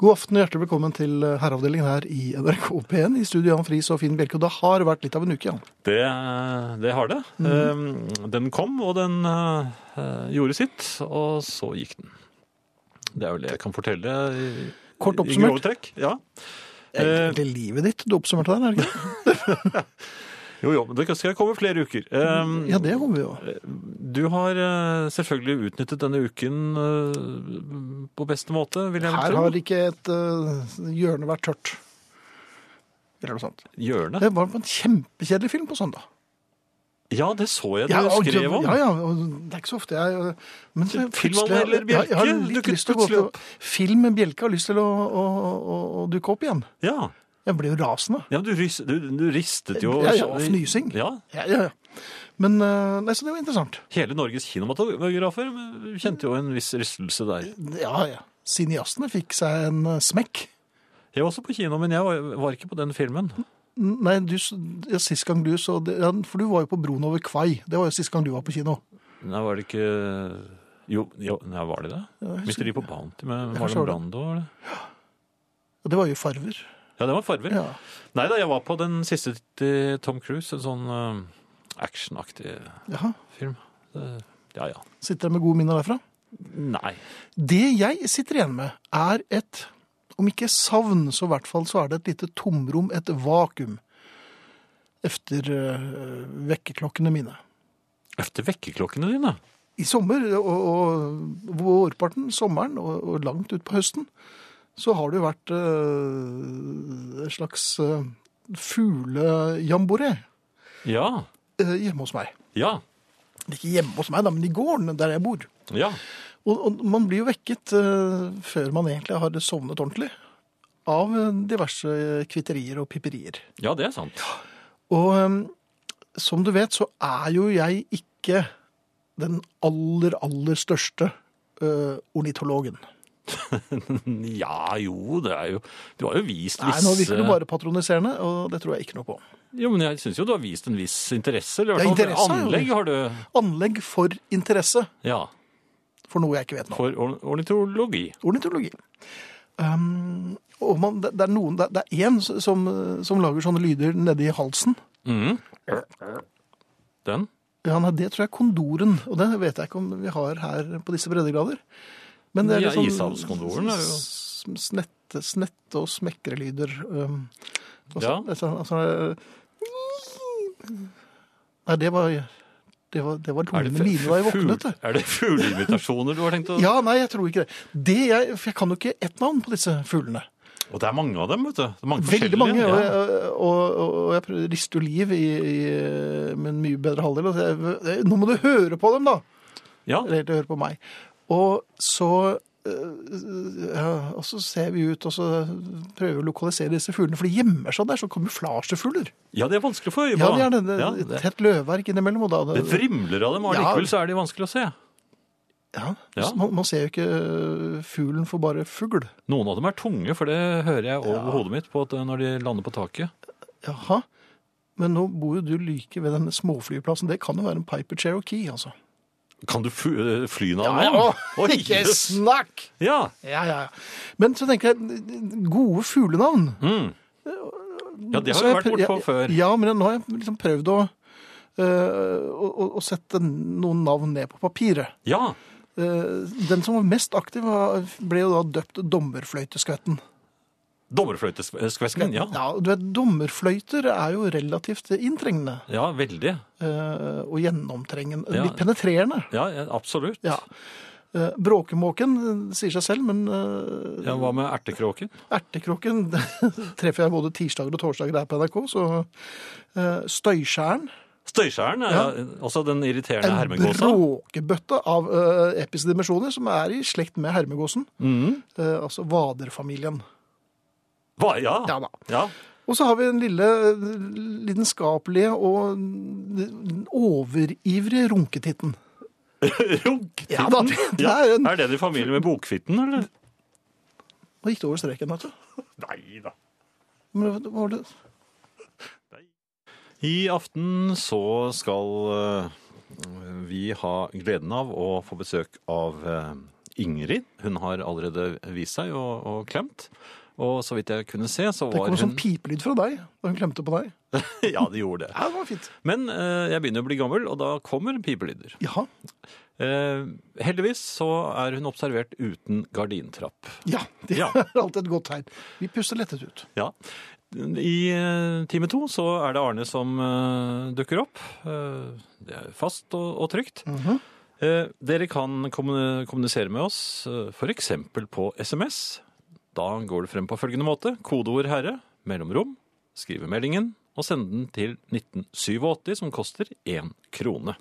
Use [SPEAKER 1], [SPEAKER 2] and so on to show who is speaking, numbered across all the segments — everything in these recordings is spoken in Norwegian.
[SPEAKER 1] God aften og hjertelig velkommen til eh, herreavdelingen her i NRK P1. I studio Jan Friis og Finn Bjelke. Og det har vært litt av en uke, Jan.
[SPEAKER 2] Det, det har det.
[SPEAKER 1] Mhm.
[SPEAKER 2] Eh, Den kom, og den eh, gjorde sitt, og så gikk den. Det er vel det jeg kan fortelle i,
[SPEAKER 1] Kort
[SPEAKER 2] i eh, grove
[SPEAKER 1] oppsummert.
[SPEAKER 2] trekk. Ja.
[SPEAKER 1] Det er egentlig livet ditt du oppsummerte der, er det ikke?
[SPEAKER 2] Jo, jo, men det skal komme flere uker. Eh,
[SPEAKER 1] Ja, det håper vi jo.
[SPEAKER 2] Du har eh, selvfølgelig utnyttet denne uken eh, på beste måte, vil jeg
[SPEAKER 1] Her
[SPEAKER 2] tro.
[SPEAKER 1] har ikke et eh, hjørne vært tørt. Eller noe sånt.
[SPEAKER 2] Hjørnet.
[SPEAKER 1] Det var en kjempekjedelig film på søndag.
[SPEAKER 2] Ja, det så jeg du
[SPEAKER 1] og-
[SPEAKER 2] skrev om.
[SPEAKER 1] Ja, ja, og det er ikke så ofte jeg øh, men så plutselig-
[SPEAKER 2] eller
[SPEAKER 1] jeg- jeg har
[SPEAKER 2] Bjelke
[SPEAKER 1] litt
[SPEAKER 2] dukket
[SPEAKER 1] lyst til å gå til-
[SPEAKER 2] plutselig opp.
[SPEAKER 1] Film med Bjelke har lyst til å, å, å, å dukke opp igjen.
[SPEAKER 2] Ja.
[SPEAKER 1] Jeg ble jo rasende.
[SPEAKER 2] Ja, men du, rys- du, du ristet jo
[SPEAKER 1] Ja, ja, og fnysing.
[SPEAKER 2] Ja.
[SPEAKER 1] Ja, ja, ja. Men øh, nei, så det var interessant.
[SPEAKER 2] Hele Norges kinematografer kjente jo en viss rystelse der.
[SPEAKER 1] Ja, ja. Cineastene fikk seg en øh, smekk.
[SPEAKER 2] Jeg var også på kino, men jeg var, var ikke på den filmen.
[SPEAKER 1] N- Nei, du, s- ja, sist gang du så det, ja, For du var jo på Broen over Kvai. Det var jo sist gang du var på kino.
[SPEAKER 2] Nei, var det ikke Jo, jo nei, var det det?
[SPEAKER 1] jeg
[SPEAKER 2] Mysteri på Bounty med
[SPEAKER 1] Jeg
[SPEAKER 2] Marlon
[SPEAKER 1] husker det.
[SPEAKER 2] Brando? var det?
[SPEAKER 1] Og det var jo farver.
[SPEAKER 2] Ja, det var farver.
[SPEAKER 1] Ja.
[SPEAKER 2] Nei da, jeg var på den siste til Tom Cruise. En sånn eh, actionaktig
[SPEAKER 1] Jaha.
[SPEAKER 2] film. Det- Ja ja.
[SPEAKER 1] Sitter jeg med gode minner derfra?
[SPEAKER 2] Nei.
[SPEAKER 1] Det jeg sitter igjen med, er et Om ikke savn, så i hvert fall så er det et lite tomrom, et vakuum. Efter øh, vekkerklokkene mine.
[SPEAKER 2] Efter vekkerklokkene dine.
[SPEAKER 1] I sommer, og, og vårparten, sommeren og, og langt ut på høsten, så har det jo vært øh, en slags øh, fuglejamboré
[SPEAKER 2] Ja.
[SPEAKER 1] øh, hjemme hos meg.
[SPEAKER 2] Ja.
[SPEAKER 1] Ikke hjemme hos meg, da, men i gården der jeg bor.
[SPEAKER 2] Ja.
[SPEAKER 1] Og, og man blir jo vekket eh, før man egentlig har sovnet ordentlig av eh, diverse kvitterier og piperier.
[SPEAKER 2] Ja, det er sant.
[SPEAKER 1] Og eh, som du vet, så er jo jeg ikke den aller, aller største eh, ornitologen.
[SPEAKER 2] Ja jo, det er jo Du har jo vist
[SPEAKER 1] Nei,
[SPEAKER 2] visse
[SPEAKER 1] nå virker du bare patroniserende, og det tror jeg ikke noe på.
[SPEAKER 2] Jo, men jeg syns jo du har vist en viss interesse. Eller
[SPEAKER 1] Ja,
[SPEAKER 2] i hvert
[SPEAKER 1] interesse
[SPEAKER 2] fall
[SPEAKER 1] har
[SPEAKER 2] for
[SPEAKER 1] jeg
[SPEAKER 2] anlegg har du.
[SPEAKER 1] Anlegg for interesse
[SPEAKER 2] Ja.
[SPEAKER 1] for noe jeg ikke vet nå.
[SPEAKER 2] For or- ornitologi.
[SPEAKER 1] Ornitologi. Um, og man, det, det er noen, det, det er én som, som lager sånne lyder nedi halsen.
[SPEAKER 2] Mhm. Den?
[SPEAKER 1] Ja, nei, det tror jeg er kondoren, og det vet jeg ikke om vi har her på disse breddegrader. Men det er
[SPEAKER 2] Ja,
[SPEAKER 1] litt sånn
[SPEAKER 2] ishavskondoren er jo-
[SPEAKER 1] s- Snette, snette og smekrelyder. Um, og så-
[SPEAKER 2] Ja.
[SPEAKER 1] det er sånn- altså, Nei, det var Det var, det var tonene mine da jeg våknet. det.
[SPEAKER 2] er det fugleinvitasjoner du har tenkt å
[SPEAKER 1] Ja, nei, jeg tror ikke det. det jeg, for jeg kan jo ikke ett navn på disse fuglene.
[SPEAKER 2] Og det er mange av dem, vet du. Det er mange
[SPEAKER 1] Veldig
[SPEAKER 2] forskjellige.
[SPEAKER 1] mange, og
[SPEAKER 2] Ja.
[SPEAKER 1] jeg, og, og, og jeg prøver- rister jo liv i, i min mye bedre halvdel. Og sier, nå må du høre på dem, da!
[SPEAKER 2] Ja.
[SPEAKER 1] Eller helt høre på meg. Og så øh, ja, og så ser vi ut og så prøver vi å lokalisere disse fuglene, for de gjemmer seg der. Så kamuflasjefugler.
[SPEAKER 2] ja, det er vanskelig å få øye på.
[SPEAKER 1] Ja, det er det. det,
[SPEAKER 2] Ja,
[SPEAKER 1] et Tett løvverk innimellom. Og da,
[SPEAKER 2] det vrimler av dem, og
[SPEAKER 1] Ja.
[SPEAKER 2] allikevel så er de vanskelig å se.
[SPEAKER 1] ja,
[SPEAKER 2] Ja.
[SPEAKER 1] så Man, man ser jo ikke øh, fuglen for bare fugl.
[SPEAKER 2] Noen av dem er tunge, for det hører jeg over hodet mitt på at eh, når de lander på taket.
[SPEAKER 1] Jaha. Men nå bor jo du like ved denne småflyplassen. Det kan jo være en Piper Cherokee, altså.
[SPEAKER 2] Kan du fly, fly den av
[SPEAKER 1] Ja,
[SPEAKER 2] dem?
[SPEAKER 1] ja.
[SPEAKER 2] Oi,
[SPEAKER 1] ikke
[SPEAKER 2] jøss.
[SPEAKER 1] snakk!
[SPEAKER 2] Ja.
[SPEAKER 1] Ja, ja, ja. Men så tenker jeg, gode fuglenavn.
[SPEAKER 2] Mm. ja, det
[SPEAKER 1] Så jeg
[SPEAKER 2] har vi vært
[SPEAKER 1] prøv-
[SPEAKER 2] bortpå
[SPEAKER 1] jeg-
[SPEAKER 2] før.
[SPEAKER 1] Ja, men nå har jeg liksom prøvd å, øh, å, å- å sette noen navn ned på papiret.
[SPEAKER 2] Ja.
[SPEAKER 1] Eh, den som var mest aktiv, var, ble jo da døpt Dommerfløyteskvetten.
[SPEAKER 2] Dommerfløyteskvesken, ja.
[SPEAKER 1] Ja, du vet, Dommerfløyter er jo relativt inntrengende
[SPEAKER 2] Ja, veldig.
[SPEAKER 1] eh, og gjennomtrengende.
[SPEAKER 2] Ja.
[SPEAKER 1] Litt penetrerende.
[SPEAKER 2] Ja, ja, absolutt.
[SPEAKER 1] Ja. Eh, Bråkemåken eh, sier seg selv, men eh,
[SPEAKER 2] Ja, hva med ertekråken?
[SPEAKER 1] Ertekroken treffer jeg både tirsdager og torsdager her på NRK. Så eh, Støyskjæren.
[SPEAKER 2] Støyskjæren er
[SPEAKER 1] Ja.
[SPEAKER 2] også den irriterende
[SPEAKER 1] En
[SPEAKER 2] hermegåsa.
[SPEAKER 1] bråkebøtte av eh, episke dimensjoner, som er i slekt med hermegåsen. Eh, altså Vader-familien.
[SPEAKER 2] Hva, ja.
[SPEAKER 1] Ja da.
[SPEAKER 2] Ja.
[SPEAKER 1] Og så har vi den lille eh, lidenskapelige og eh, overivrige runketitten.
[SPEAKER 2] Runketitten.
[SPEAKER 1] Ja da, det- det er en-
[SPEAKER 2] Er den i familie med bokfitten, eller?
[SPEAKER 1] Nå gikk det over streken, vet du.
[SPEAKER 2] Nei da.
[SPEAKER 1] Men hva var det?
[SPEAKER 2] I aften så skal eh, vi ha gleden av å få besøk av eh, Ingrid. Hun har allerede vist seg og, og klemt. Og så vidt jeg kunne se, så
[SPEAKER 1] Det
[SPEAKER 2] var
[SPEAKER 1] kom en sånn
[SPEAKER 2] hun
[SPEAKER 1] pipelyd fra deg da hun klemte på deg.
[SPEAKER 2] Ja, det gjorde det.
[SPEAKER 1] Ja, det var fint.
[SPEAKER 2] Men eh, jeg begynner å bli gammel, og da kommer pipelyder.
[SPEAKER 1] Ja.
[SPEAKER 2] Eh, heldigvis så er hun observert uten gardintrapp.
[SPEAKER 1] ja det
[SPEAKER 2] Ja.
[SPEAKER 1] er alltid et godt tegn. Vi puster lettet ut.
[SPEAKER 2] Ja. I eh, time to så er det Arne som eh, dukker opp. Eh, det er fast og, og trygt. Eh, dere kan kommuni- kommunisere med oss eh, for eksempel på SMS. Da går det frem på følgende måte. Kodeord herre, mellomrom, skrive meldingen og sende den til 1987 som koster én krone.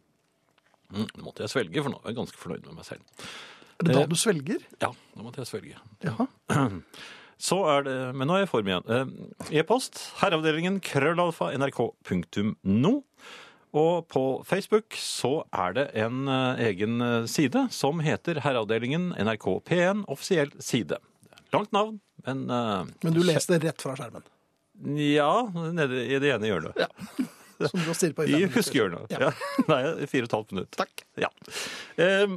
[SPEAKER 2] Mm, det måtte jeg svelge, for nå er jeg ganske fornøyd med meg selv.
[SPEAKER 1] Er det da
[SPEAKER 2] Eh.
[SPEAKER 1] du svelger?
[SPEAKER 2] Ja, da måtte jeg svelge.
[SPEAKER 1] Ja.
[SPEAKER 2] Så er det, men nå er jeg i form igjen. Eh, E-post herreavdelingen krøllalfa nrk.no. Og på Facebook så er det en eh, egen eh, side som heter Herreavdelingen NRK P1 offisiell side. Langt navn, men eh,
[SPEAKER 1] Men du leste rett fra skjermen.
[SPEAKER 2] Ja, nede i det ene hjørnet.
[SPEAKER 1] Ja. Som du har stirret på
[SPEAKER 2] I
[SPEAKER 1] fem minutter.
[SPEAKER 2] huskehjørnet.
[SPEAKER 1] Ja.
[SPEAKER 2] Ja. Nei, fire og et halvt minutt.
[SPEAKER 1] Takk.
[SPEAKER 2] Ja. Eh,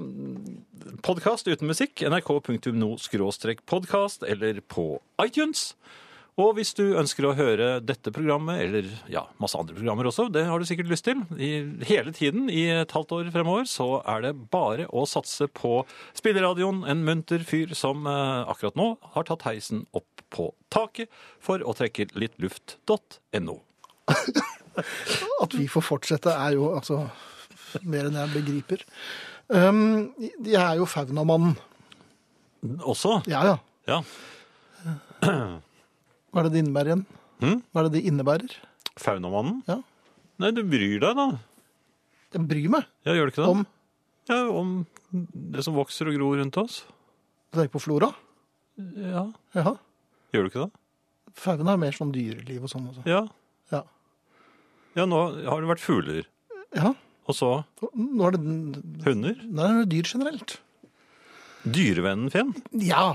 [SPEAKER 2] podkast uten musikk, nrk.no-podkast eller på iTunes. Og hvis du ønsker å høre dette programmet, eller ja, masse andre programmer også, det har du sikkert lyst til, i, hele tiden i et halvt år fremover, så er det bare å satse på spilleradioen, en munter fyr som eh, akkurat nå har tatt heisen opp på taket for å trekke litt luft.no.
[SPEAKER 1] At vi får fortsette er jo altså mer enn jeg begriper. Um, jeg er jo faunamannen.
[SPEAKER 2] Også?
[SPEAKER 1] Ja, ja.
[SPEAKER 2] Ja.
[SPEAKER 1] Hva er det det innebærer igjen?
[SPEAKER 2] Hm?
[SPEAKER 1] Hva er det det innebærer?
[SPEAKER 2] Faunamannen?
[SPEAKER 1] Ja.
[SPEAKER 2] Nei, du bryr deg, da.
[SPEAKER 1] Jeg bryr meg
[SPEAKER 2] Ja, gjør du ikke det?
[SPEAKER 1] om
[SPEAKER 2] Ja, om det som vokser og gror rundt oss.
[SPEAKER 1] Du tenker på flora?
[SPEAKER 2] Ja.
[SPEAKER 1] Ja.
[SPEAKER 2] Gjør du ikke det?
[SPEAKER 1] Fauna er mer sånn dyreliv og sånn også.
[SPEAKER 2] Ja.
[SPEAKER 1] Ja.
[SPEAKER 2] Ja, nå har det vært fugler.
[SPEAKER 1] ja.
[SPEAKER 2] Og så
[SPEAKER 1] Nå er det, den-
[SPEAKER 2] hunder.
[SPEAKER 1] nå er det dyr generelt.
[SPEAKER 2] Dyrevennen Finn.
[SPEAKER 1] Ja.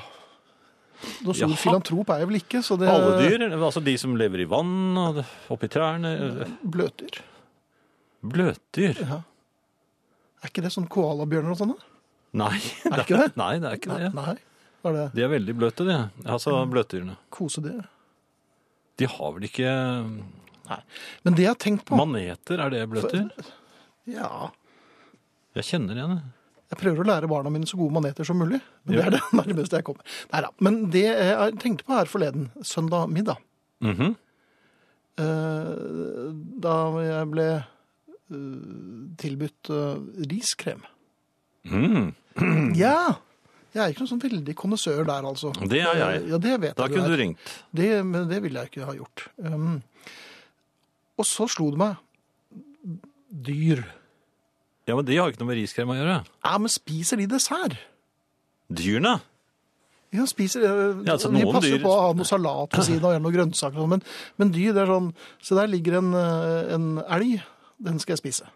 [SPEAKER 1] Noen stor
[SPEAKER 2] Jaha.
[SPEAKER 1] filantrop er jeg vel ikke, så det
[SPEAKER 2] Alle dyr. Altså de som lever i vann, og oppi trærne.
[SPEAKER 1] Bløtdyr.
[SPEAKER 2] Bløtdyr.
[SPEAKER 1] Ja. Er ikke det sånn koalabjørner og sånne?
[SPEAKER 2] Nei.
[SPEAKER 1] Er det ikke det?
[SPEAKER 2] Nei, det er ikke det.
[SPEAKER 1] Nei. Mm. Hva er det?
[SPEAKER 2] De er veldig bløte, de. Altså bløtdyrene.
[SPEAKER 1] Kosedyr?
[SPEAKER 2] De har vel ikke
[SPEAKER 1] Men det jeg har tenkt på
[SPEAKER 2] Maneter, er det bløtdyr?
[SPEAKER 1] Ja.
[SPEAKER 2] Jeg kjenner igjen det.
[SPEAKER 1] Jeg prøver å lære barna mine så gode maneter som mulig. Men det er det nærmeste jeg kommer. Neida. Men det jeg tenkte på her forleden, søndag middag,
[SPEAKER 2] Mhm.
[SPEAKER 1] eh, da jeg ble eh, tilbudt eh, riskrem.
[SPEAKER 2] Mm.
[SPEAKER 1] Ja! Jeg er ikke noen sånn veldig kondisør der, altså.
[SPEAKER 2] Det er jeg.
[SPEAKER 1] Ja, det vet
[SPEAKER 2] Da
[SPEAKER 1] jeg.
[SPEAKER 2] kunne
[SPEAKER 1] er.
[SPEAKER 2] du ringt.
[SPEAKER 1] Det, men det ville jeg ikke ha gjort. Um, og så slo det meg. Dyr.
[SPEAKER 2] Ja, men de har jo ikke noe med riskrem å gjøre.
[SPEAKER 1] Ja, men spiser de dessert?
[SPEAKER 2] Dyrene?
[SPEAKER 1] Ja, spiser eh,
[SPEAKER 2] Ja, altså,
[SPEAKER 1] De
[SPEAKER 2] noen
[SPEAKER 1] passer
[SPEAKER 2] dyr-
[SPEAKER 1] på å ha noe salat ved siden av og noen grønnsaker. og sånn, Men, men dyr, det er sånn Se, der ligger en, eh, en elg. Den skal jeg spise.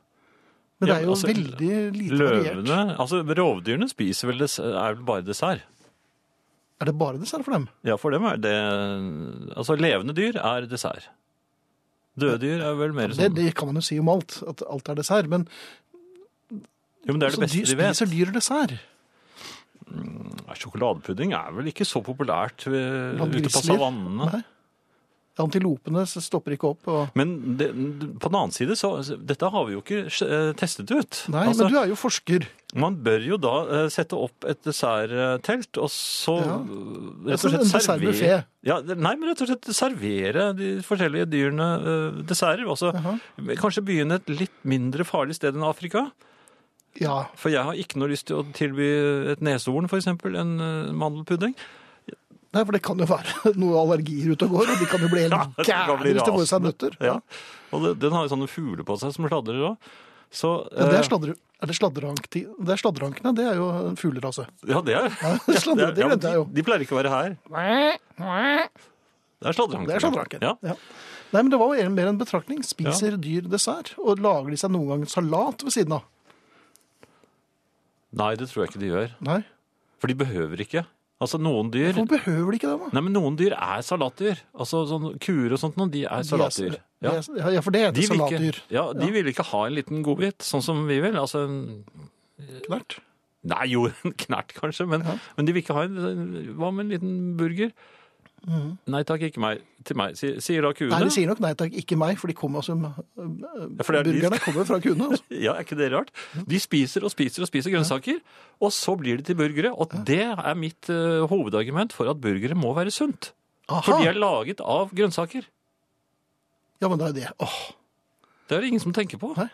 [SPEAKER 1] Men det
[SPEAKER 2] Ja,
[SPEAKER 1] er
[SPEAKER 2] men
[SPEAKER 1] jo
[SPEAKER 2] altså,
[SPEAKER 1] veldig lite variert.
[SPEAKER 2] Løvene Altså, rovdyrene spiser vel dess- er vel bare dessert.
[SPEAKER 1] Er det bare dessert for dem?
[SPEAKER 2] Ja, for dem er det Altså, levende dyr er dessert. Døde dyr er vel mer
[SPEAKER 1] Det,
[SPEAKER 2] sånn
[SPEAKER 1] det kan man jo si om alt, at alt er dessert. Men
[SPEAKER 2] Jo, men det er
[SPEAKER 1] så
[SPEAKER 2] det beste
[SPEAKER 1] dyr,
[SPEAKER 2] de vet.
[SPEAKER 1] spiser dyr dessert?
[SPEAKER 2] Nei, Sjokoladepudding er vel ikke så populært ved,
[SPEAKER 1] Blant
[SPEAKER 2] ute på
[SPEAKER 1] grizzlyer?
[SPEAKER 2] savannene.
[SPEAKER 1] Nei. Antilopene stopper ikke opp. og...
[SPEAKER 2] Men det, på den annen side, så Dette har vi jo ikke eh, testet ut.
[SPEAKER 1] Nei,
[SPEAKER 2] altså,
[SPEAKER 1] men du er jo forsker.
[SPEAKER 2] Man bør jo da eh, sette opp et desserttelt, og så
[SPEAKER 1] Ja.
[SPEAKER 2] eh, rett
[SPEAKER 1] Altså,
[SPEAKER 2] og slett
[SPEAKER 1] en
[SPEAKER 2] servere
[SPEAKER 1] dessertbuffet.
[SPEAKER 2] ja, det- Nei, men rett og slett servere de forskjellige dyrene eh, desserter. Også
[SPEAKER 1] Jaha.
[SPEAKER 2] kanskje begynne et litt mindre farlig sted enn Afrika.
[SPEAKER 1] Ja.
[SPEAKER 2] For jeg har ikke noe lyst til å tilby et neshorn, for eksempel, en eh, mandelpudding.
[SPEAKER 1] Nei, for det kan jo være noen allergier ute og går, og de kan jo bli
[SPEAKER 2] Ja,
[SPEAKER 1] helt
[SPEAKER 2] det kan
[SPEAKER 1] gærne
[SPEAKER 2] bli
[SPEAKER 1] hvis de får i seg
[SPEAKER 2] rasende.
[SPEAKER 1] nøtter.
[SPEAKER 2] Ja. Og det, den har jo sånne fugler på seg som sladrer òg. Så
[SPEAKER 1] Ja, det
[SPEAKER 2] eh,
[SPEAKER 1] er, sladre, er det sladrehank- det er sladrehankene, det er jo en fuglerase.
[SPEAKER 2] Ja, det er
[SPEAKER 1] Ja, sladre,
[SPEAKER 2] ja,
[SPEAKER 1] det
[SPEAKER 2] men
[SPEAKER 1] vet jeg jo.
[SPEAKER 2] de, de pleier ikke å være her. Det er sladrehanken.
[SPEAKER 1] Det er sladrehanken.
[SPEAKER 2] Ja.
[SPEAKER 1] Ja. Nei, men det var jo en- mer en betraktning. Spiser dyr dessert, og lager de seg noen gang salat ved siden av?
[SPEAKER 2] Nei, det tror jeg ikke de gjør.
[SPEAKER 1] Nei.
[SPEAKER 2] For de behøver ikke. Altså, noen dyr
[SPEAKER 1] Hvorfor behøver de ikke det, da?
[SPEAKER 2] Nei, men noen dyr er salatdyr. Altså sånn kuer og sånt, noe, de er salatdyr.
[SPEAKER 1] Ja.
[SPEAKER 2] Ja.
[SPEAKER 1] ja, for det heter
[SPEAKER 2] De vil ikke,
[SPEAKER 1] salatdyr.
[SPEAKER 2] ja, de vil ikke ha en liten godbit, sånn som vi vil. Altså en
[SPEAKER 1] Knert.
[SPEAKER 2] Nei, jo, en knert kanskje, men, men de vil ikke ha en Hva med en liten burger? Nei takk, ikke meg. Til meg. Si- Sier da kuene.
[SPEAKER 1] Mhm. Nei, de sier nok nei takk, ikke meg, for de kommer altså
[SPEAKER 2] for det er de-
[SPEAKER 1] Burgerne kommer fra kuene. Altså.
[SPEAKER 2] Ja, er ikke det rart? De spiser og spiser og spiser grønnsaker, og så blir det til burgere. Og det er mitt eh, hovedargument for at burgere må være sunt. For
[SPEAKER 1] Aha!
[SPEAKER 2] de er laget av grønnsaker.
[SPEAKER 1] Ja, men det er det. Åh,
[SPEAKER 2] Det er det ingen som tenker på.
[SPEAKER 1] Nei.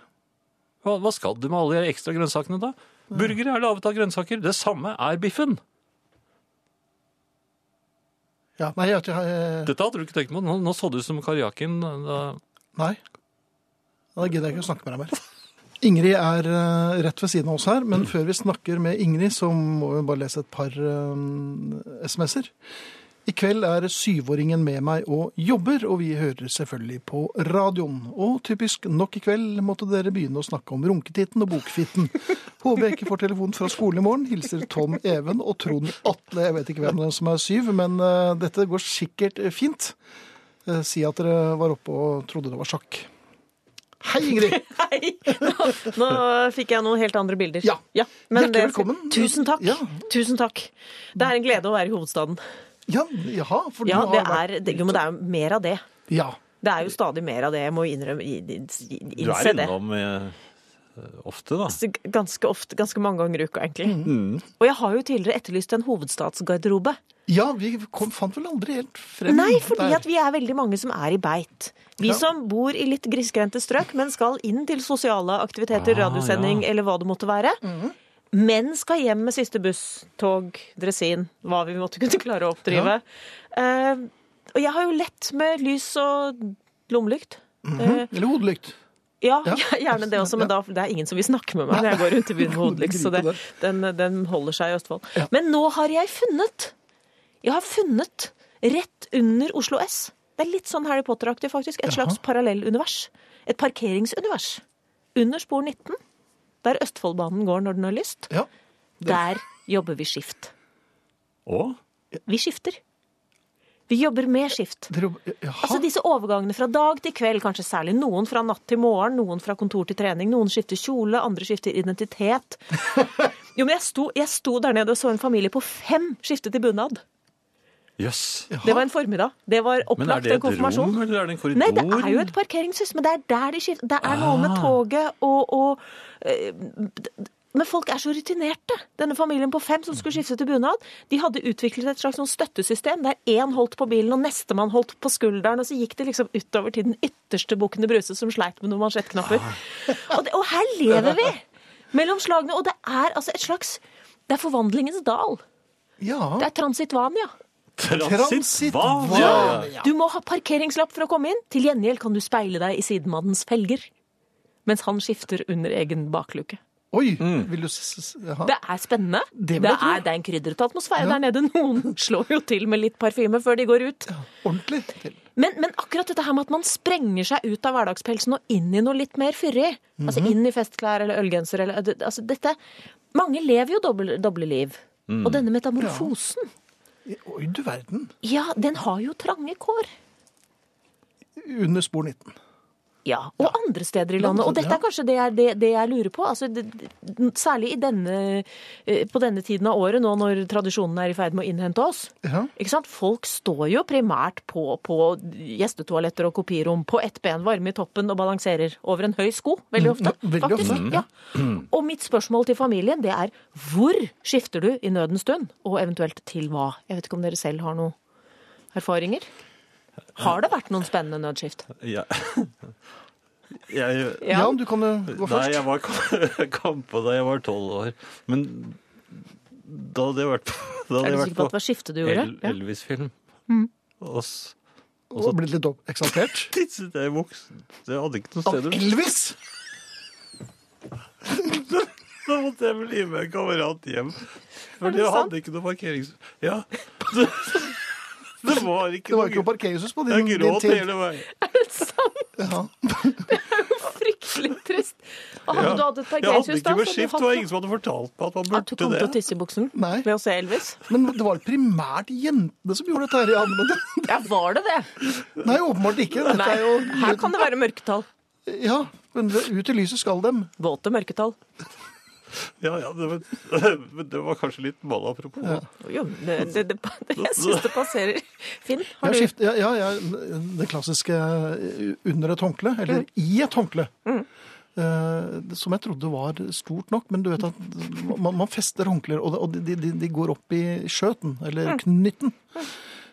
[SPEAKER 2] Hva, hva skal du med alle de ekstra grønnsakene da? Burgere er laget av grønnsaker. Det samme er biffen.
[SPEAKER 1] ja, nei, jeg, jeg,
[SPEAKER 2] Dette hadde du ikke tenkt på. Nå, nå så du ut som Karjakin. Da.
[SPEAKER 1] Nei. Da gidder jeg ikke å snakke med deg mer. Ingrid er eh, rett ved siden av oss her, men før vi snakker med Ingrid, så må vi bare lese et par eh, SMS-er. I kveld er syvåringen med meg og jobber, og vi hører selvfølgelig på radioen. Og typisk nok i kveld måtte dere begynne å snakke om runketitten og bokfitten. Håper jeg ikke får telefon fra skolen i morgen. Hilser Tom Even og Trond Atle. Jeg vet ikke hvem av dem som er syv, men eh, dette går sikkert fint. Eh, Si at dere var oppe og trodde det var sjakk. Hei, Ingrid!
[SPEAKER 3] Nei, nå, nå fikk jeg noen helt andre bilder.
[SPEAKER 1] Ja.
[SPEAKER 3] men
[SPEAKER 1] Hjertelig
[SPEAKER 3] det-
[SPEAKER 1] velkommen.
[SPEAKER 3] Tusen takk.
[SPEAKER 1] Ja.
[SPEAKER 3] Tusen takk. Det er en glede å være i hovedstaden.
[SPEAKER 1] Ja, jaha, for
[SPEAKER 3] Ja,
[SPEAKER 1] du
[SPEAKER 3] det
[SPEAKER 1] har vært
[SPEAKER 3] er, det, jo, men det er jo mer av det.
[SPEAKER 1] Ja.
[SPEAKER 3] Det er jo stadig mer av det, jeg må innrømme, i- i- i-
[SPEAKER 2] Du
[SPEAKER 3] innse
[SPEAKER 2] er
[SPEAKER 3] det.
[SPEAKER 2] innom eh, ofte, da.
[SPEAKER 3] Så Ganske ofte, ganske mange ganger i uka, egentlig.
[SPEAKER 1] Mm.
[SPEAKER 3] Og jeg har jo tidligere etterlyst en hovedstadsgarderobe.
[SPEAKER 1] ja, vi kom, fant vel aldri helt frem
[SPEAKER 3] Nei, fordi
[SPEAKER 1] der.
[SPEAKER 3] at vi er veldig mange som er i beit. Vi
[SPEAKER 1] Ja.
[SPEAKER 3] som bor i litt grisgrendte strøk, men skal inn til sosiale aktiviteter,
[SPEAKER 2] Ah,
[SPEAKER 3] radiosending
[SPEAKER 2] ja.
[SPEAKER 3] eller hva det måtte være.
[SPEAKER 1] Mhm.
[SPEAKER 3] Men skal hjem med siste buss, tog, dresin, hva vi måtte kunne klare å oppdrive. Eh, og jeg har jo lett med lys og lommelykt. Eh,
[SPEAKER 1] Eller hodelykt.
[SPEAKER 3] ja,
[SPEAKER 1] Ja.
[SPEAKER 3] gjerne det også, men da, det er ingen som vil snakke med meg når jeg går rundt i byen med hodelykt, så det, den, den holder seg i Østfold.
[SPEAKER 1] Ja.
[SPEAKER 3] Men nå har jeg funnet Jeg har funnet rett under Oslo S. Det er litt sånn Harry Potter-aktig, faktisk. Et slags parallellunivers. Et parkeringsunivers. Under spor 19, der Østfoldbanen går når den har lyst,
[SPEAKER 1] Ja.
[SPEAKER 3] der jobber vi skift.
[SPEAKER 2] Å?
[SPEAKER 3] Vi skifter. Vi jobber med skift.
[SPEAKER 1] Dere, jaha.
[SPEAKER 3] Altså disse overgangene fra dag til kveld, kanskje særlig noen fra natt til morgen, noen fra kontor til trening, noen skifter kjole, andre skifter identitet. Jo, men jeg sto, jeg sto der nede og så en familie på fem skiftet i bunad.
[SPEAKER 2] Jøss.
[SPEAKER 3] Det var en formiddag. Det var
[SPEAKER 2] Men er
[SPEAKER 3] opplagt
[SPEAKER 2] det
[SPEAKER 3] en
[SPEAKER 2] et
[SPEAKER 3] konfirmasjon.
[SPEAKER 2] rom, eller er det en korridor?
[SPEAKER 3] Nei, det er jo et parkeringshus, men det er der de skifter. Det er noe med toget og, og eh, Men folk er så rutinerte. Denne familien på fem som skulle skifte til bunad, de hadde utviklet et slags sånn støttesystem der én holdt på bilen og nestemann holdt på skulderen, og så gikk det liksom utover til den ytterste bukkende bruse som sleit med noen mansjettknapper. Og, det, og her lever vi! Mellom slagene. Og det er altså et slags Det er forvandlingens dal. Det
[SPEAKER 1] Ja.
[SPEAKER 3] er Transitvania.
[SPEAKER 2] Transitvania!
[SPEAKER 3] Du må ha parkeringslapp for å komme inn. Til gjengjeld kan du speile deg i sidemannens felger. Mens han skifter under egen bakluke.
[SPEAKER 1] Oi,
[SPEAKER 2] Mm.
[SPEAKER 1] vil du s- s- jaha.
[SPEAKER 3] Det er spennende.
[SPEAKER 1] Det
[SPEAKER 3] Det,
[SPEAKER 1] vil jeg tro.
[SPEAKER 3] er, det er en krydret atmosfære
[SPEAKER 1] Ja.
[SPEAKER 3] der nede. Noen slår jo til med litt parfyme før de går ut.
[SPEAKER 1] Ordentlig til.
[SPEAKER 3] Men, men akkurat dette her med at man sprenger seg ut av hverdagspelsen og inn i noe litt mer fyrig. Altså
[SPEAKER 1] Mhm.
[SPEAKER 3] inn i festklær eller ølgenser eller altså dette. Mange lever jo doble, doble liv.
[SPEAKER 1] Mm.
[SPEAKER 3] Og denne metamorfosen,
[SPEAKER 1] Oi, du verden.
[SPEAKER 3] ja, den har jo trange kår.
[SPEAKER 1] Under spor 19.
[SPEAKER 3] Ja, og andre steder i
[SPEAKER 1] Ja,
[SPEAKER 3] landet. Og dette
[SPEAKER 1] ja.
[SPEAKER 3] er kanskje det jeg, det, det jeg lurer på. Altså, det, det- særlig i denne, eh, på denne tiden av året, nå når tradisjonen er i ferd med å innhente oss.
[SPEAKER 1] Ja.
[SPEAKER 3] Ikke sant? Folk står jo primært på, på gjestetoaletter og kopirom, på ett ben, varme i toppen og balanserer over en høy sko, veldig ofte.
[SPEAKER 1] Mm, veldig
[SPEAKER 3] faktisk.
[SPEAKER 1] ofte.
[SPEAKER 3] Ja. Og mitt spørsmål til familien det er hvor skifter du i nødens stund, og eventuelt til hva? Jeg vet ikke om dere selv har noen erfaringer? Har det vært noen spennende nødskift?
[SPEAKER 2] Ja. Jeg,
[SPEAKER 1] Ja, du kan jo gå
[SPEAKER 2] Nei,
[SPEAKER 1] først.
[SPEAKER 2] jeg var kampa da jeg var tolv år. Men da hadde jeg vært på Da
[SPEAKER 3] Er
[SPEAKER 2] hadde
[SPEAKER 3] du
[SPEAKER 2] jeg
[SPEAKER 3] sikker på at
[SPEAKER 2] vært
[SPEAKER 3] det var skifte du
[SPEAKER 2] på
[SPEAKER 3] gjorde?
[SPEAKER 2] El
[SPEAKER 3] Ja. Mm.
[SPEAKER 2] Elvis-film. Og s-
[SPEAKER 1] Og blitt litt opp- eksaltert.
[SPEAKER 2] tisset jeg i buksen. Så Jeg hadde ikke noe
[SPEAKER 1] Av
[SPEAKER 2] sted å
[SPEAKER 1] Elvis!
[SPEAKER 2] Da måtte jeg bli med en kamerat hjem.
[SPEAKER 3] Er det
[SPEAKER 2] Fordi jeg
[SPEAKER 3] sant?
[SPEAKER 2] hadde ikke noe parkerings... Ja. Det, det var
[SPEAKER 1] Det
[SPEAKER 2] ikke
[SPEAKER 1] var jo
[SPEAKER 2] noe
[SPEAKER 1] ikke noe parkeringshus på din, din
[SPEAKER 2] Jeg gråt
[SPEAKER 1] tid.
[SPEAKER 2] hele veien.
[SPEAKER 1] Ja.
[SPEAKER 3] Fryktelig trist. Og hadde
[SPEAKER 2] Ja.
[SPEAKER 3] du hatt et
[SPEAKER 2] Jeg hadde
[SPEAKER 3] parkeringshus
[SPEAKER 2] ikke
[SPEAKER 3] da?
[SPEAKER 2] med
[SPEAKER 3] så hadde du
[SPEAKER 2] skift.
[SPEAKER 3] hatt
[SPEAKER 2] Det var
[SPEAKER 3] noe-
[SPEAKER 2] ingen som hadde fortalt meg at man
[SPEAKER 3] At du kom
[SPEAKER 2] burde
[SPEAKER 3] til å
[SPEAKER 2] det.
[SPEAKER 3] tisse i buksen
[SPEAKER 1] Nei.
[SPEAKER 3] ved å se Elvis?
[SPEAKER 1] Men det var primært jentene som gjorde dette her. Ja, men det,
[SPEAKER 3] Ja, var det det?
[SPEAKER 1] nei, åpenbart ikke. Dette
[SPEAKER 3] Nei,
[SPEAKER 1] er jo
[SPEAKER 3] her kan det være mørketall.
[SPEAKER 1] Ja, men ut i lyset skal dem.
[SPEAKER 3] Våte mørketall.
[SPEAKER 2] Ja, ja, det, var- men det var kanskje litt mal apropos.
[SPEAKER 1] Ja.
[SPEAKER 3] Jo, det, det, det, jeg syns det passerer. Finn, har
[SPEAKER 1] Jeg
[SPEAKER 3] du
[SPEAKER 1] skifter, ja, ja, ja, det klassiske eh, under et håndkle,
[SPEAKER 3] Mm.
[SPEAKER 1] eller i et håndkle. Eh, som jeg trodde var stort nok, men du vet at man, man fester håndklær, og, det- og de, de, de går opp i skjøten,
[SPEAKER 3] Mm.
[SPEAKER 1] eller knytten.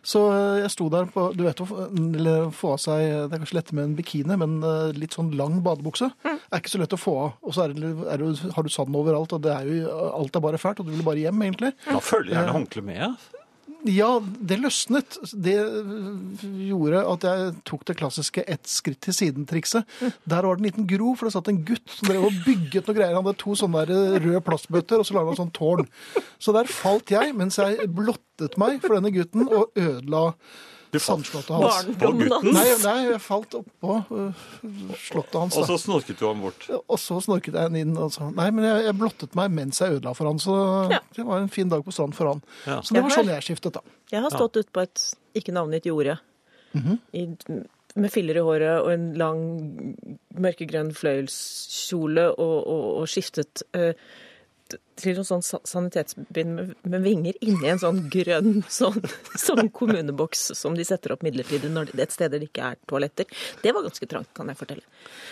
[SPEAKER 1] Så eh, jeg sto der på Du vet å få- eller få av seg Det er kanskje lettere med en bikini, men eh, litt sånn lang badebukse
[SPEAKER 3] Mm.
[SPEAKER 1] er ikke så lett å få av. Og så er det, er det, har du sand overalt, og det er jo, alt er bare fælt, og du vil bare hjem, egentlig.
[SPEAKER 2] Da følger jeg gjerne håndkleet med. jeg.
[SPEAKER 1] Ja, det løsnet. Det gjorde at jeg tok det klassiske ett skritt til siden-trikset. Der var det en liten grov, for det satt en gutt som drev og bygget noe greier. Han hadde to sånne der røde plastbøtter, og så lagde han sånn tårn. Så der falt jeg, mens jeg blottet meg for denne gutten og ødela
[SPEAKER 2] Du falt
[SPEAKER 1] sandslottet hans.
[SPEAKER 2] på
[SPEAKER 3] barndommen
[SPEAKER 2] gutten,
[SPEAKER 1] Nei,
[SPEAKER 3] hans?
[SPEAKER 1] nei, jeg falt oppå øh, slottet hans. Da.
[SPEAKER 2] og så snorket du ham bort.
[SPEAKER 1] Og så snorket jeg inn og sa nei, men jeg, jeg blottet meg mens jeg ødela for han. Så
[SPEAKER 3] Ja.
[SPEAKER 1] det var en fin dag på stranden for han.
[SPEAKER 2] Ja.
[SPEAKER 1] Så det var
[SPEAKER 3] Ja vel.
[SPEAKER 1] sånn jeg skiftet, da.
[SPEAKER 3] Jeg har stått ute på et ikke navngitt jorde. I, med filler i håret og en lang mørkegrønn fløyelskjole og, og, og skiftet eh, t- til noen sånn sa- sanitetsbind med, med vinger inni en sånn grønn sånn, sånn kommuneboks som de setter opp midlertidig når det er et sted der det ikke er toaletter. Det var ganske trangt, kan jeg fortelle.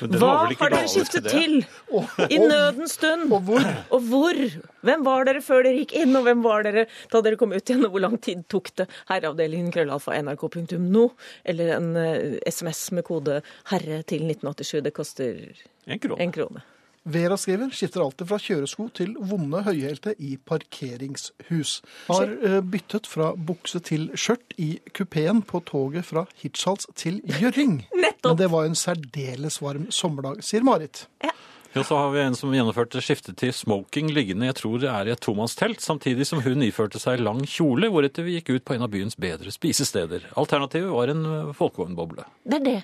[SPEAKER 2] Men den var
[SPEAKER 3] Hva
[SPEAKER 2] vel ikke
[SPEAKER 3] har dere
[SPEAKER 2] laget
[SPEAKER 3] skiftet
[SPEAKER 2] det?
[SPEAKER 3] til i nødens stund?
[SPEAKER 1] Og hvor?
[SPEAKER 3] Og hvor? Hvem var dere før dere gikk inn, og hvem var dere da dere kom ut igjen, og hvor lang tid tok det? Herreavdelingen krøllalfa nrk.no, eller en eh, SMS med kode 'herre' til 1987. Det koster
[SPEAKER 2] En krone.
[SPEAKER 3] en krone.
[SPEAKER 1] Vera skriver skifter alltid fra kjøresko til vonde høyhælte i parkeringshus. Har eh, byttet fra bukse til skjørt i kupeen på toget fra Hirtshals til Gjøring.
[SPEAKER 3] Nettopp!
[SPEAKER 1] Men det var en særdeles varm sommerdag, sier Marit.
[SPEAKER 2] Ja, så har vi en som gjennomførte skiftet til smoking liggende, jeg tror det er i et tomannstelt, samtidig som hun iførte seg lang kjole, hvoretter vi gikk ut på en av byens bedre spisesteder. Alternativet var en eh, folkevognboble.
[SPEAKER 3] Det er det.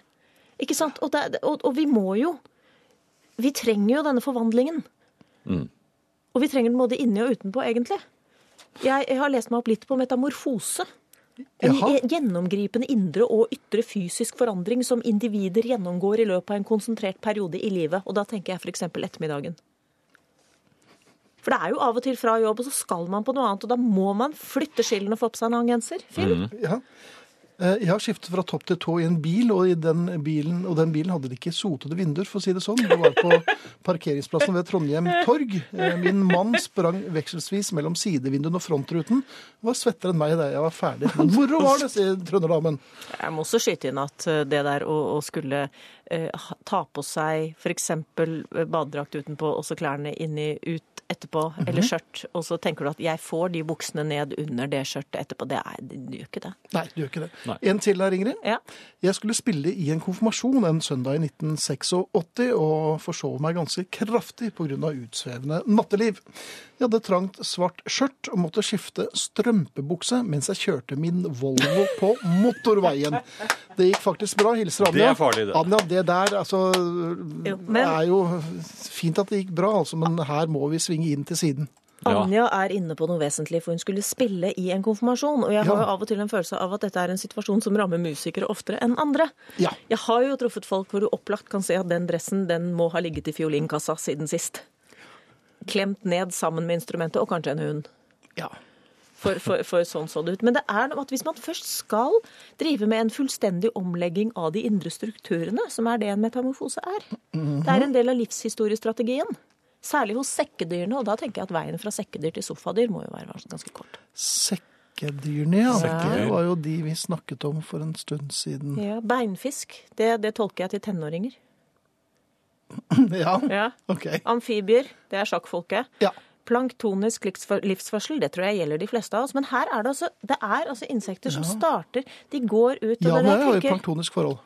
[SPEAKER 3] Ikke sant? Og, det, er- og, og vi må jo Vi trenger jo denne forvandlingen. Og vi trenger den både inni og utenpå, egentlig. Jeg, jeg har lest meg opp litt på metamorfose. En
[SPEAKER 1] Jaha.
[SPEAKER 3] e- gjennomgripende indre og ytre fysisk forandring som individer gjennomgår i løpet av en konsentrert periode i livet. Og da tenker jeg f.eks. ettermiddagen. For det er jo av og til fra jobb, og så skal man på noe annet. Og da må man flytte skillene og få på seg en annen genser. Finn,
[SPEAKER 1] Ja. Eh, Jeg har skiftet fra topp til tå i en bil, og, i den, bilen, og den bilen hadde de ikke sotede vinduer, for å si det sånn. Det var på parkeringsplassen ved Trondheim torg. Eh, Min mann sprang vekselvis mellom sidevinduene og frontruten. Var svettere enn meg da jeg var ferdig. Men moro var det, sier trønderdamen.
[SPEAKER 3] Jeg må også skyte inn at eh, det der å, å skulle eh, ha- ta på seg f.eks. badedrakt utenpå og så klærne inni ut etterpå, eller skjørt, og så tenker du at jeg får de buksene ned under det skjørtet etterpå. Det er, det gjør ikke det.
[SPEAKER 1] Nei, du gjør ikke det.
[SPEAKER 2] Nei.
[SPEAKER 1] En til her, Ingrid.
[SPEAKER 3] Ja.
[SPEAKER 1] Jeg skulle spille i en konfirmasjon en søndag i 1986 og forsov meg ganske kraftig pga. utsvevende natteliv. Jeg hadde trangt svart skjørt og måtte skifte strømpebukse mens jeg kjørte min Volvo på motorveien. Det gikk faktisk bra. Hilser Anja.
[SPEAKER 2] Det er farlig, det.
[SPEAKER 1] Anja, det der altså
[SPEAKER 3] men-
[SPEAKER 1] Det er jo fint at det gikk bra, altså, men her må vi svinge inn til siden.
[SPEAKER 2] Ja.
[SPEAKER 3] Anja er inne på noe vesentlig, for hun skulle spille i en konfirmasjon. Og jeg har
[SPEAKER 1] Ja.
[SPEAKER 3] jo av og til en følelse av at dette er en situasjon som rammer musikere oftere enn andre.
[SPEAKER 1] Ja.
[SPEAKER 3] Jeg har jo truffet folk hvor du opplagt kan se at den dressen den må ha ligget i fiolinkassa siden sist. Klemt ned sammen med instrumentet, og kanskje en hund.
[SPEAKER 1] ja.
[SPEAKER 3] For, for, for sånn så det ut. Men det er noe at hvis man først skal drive med en fullstendig omlegging av de indre strukturene, som er det en metamorfose er Det er en del av livshistoriestrategien. Særlig hos sekkedyrene. Og da tenker jeg at veien fra sekkedyr til sofadyr må jo være ganske kort.
[SPEAKER 1] Sekkedyrene, ja.
[SPEAKER 2] Sekkedyr.
[SPEAKER 1] Det var jo de vi snakket om for en stund siden.
[SPEAKER 3] Ja, Beinfisk, det, det tolker jeg til tenåringer.
[SPEAKER 1] Ja,
[SPEAKER 3] Ja.
[SPEAKER 1] ok.
[SPEAKER 3] Amfibier, det er sjakkfolket.
[SPEAKER 1] Ja.
[SPEAKER 3] Planktonisk livsfø- livsførsel, det tror jeg gjelder de fleste av oss. Men her er det altså, det er altså insekter som starter De går ut og
[SPEAKER 1] Ja, men
[SPEAKER 3] det-
[SPEAKER 1] jeg har jo
[SPEAKER 3] tenker-
[SPEAKER 1] planktonisk forhold.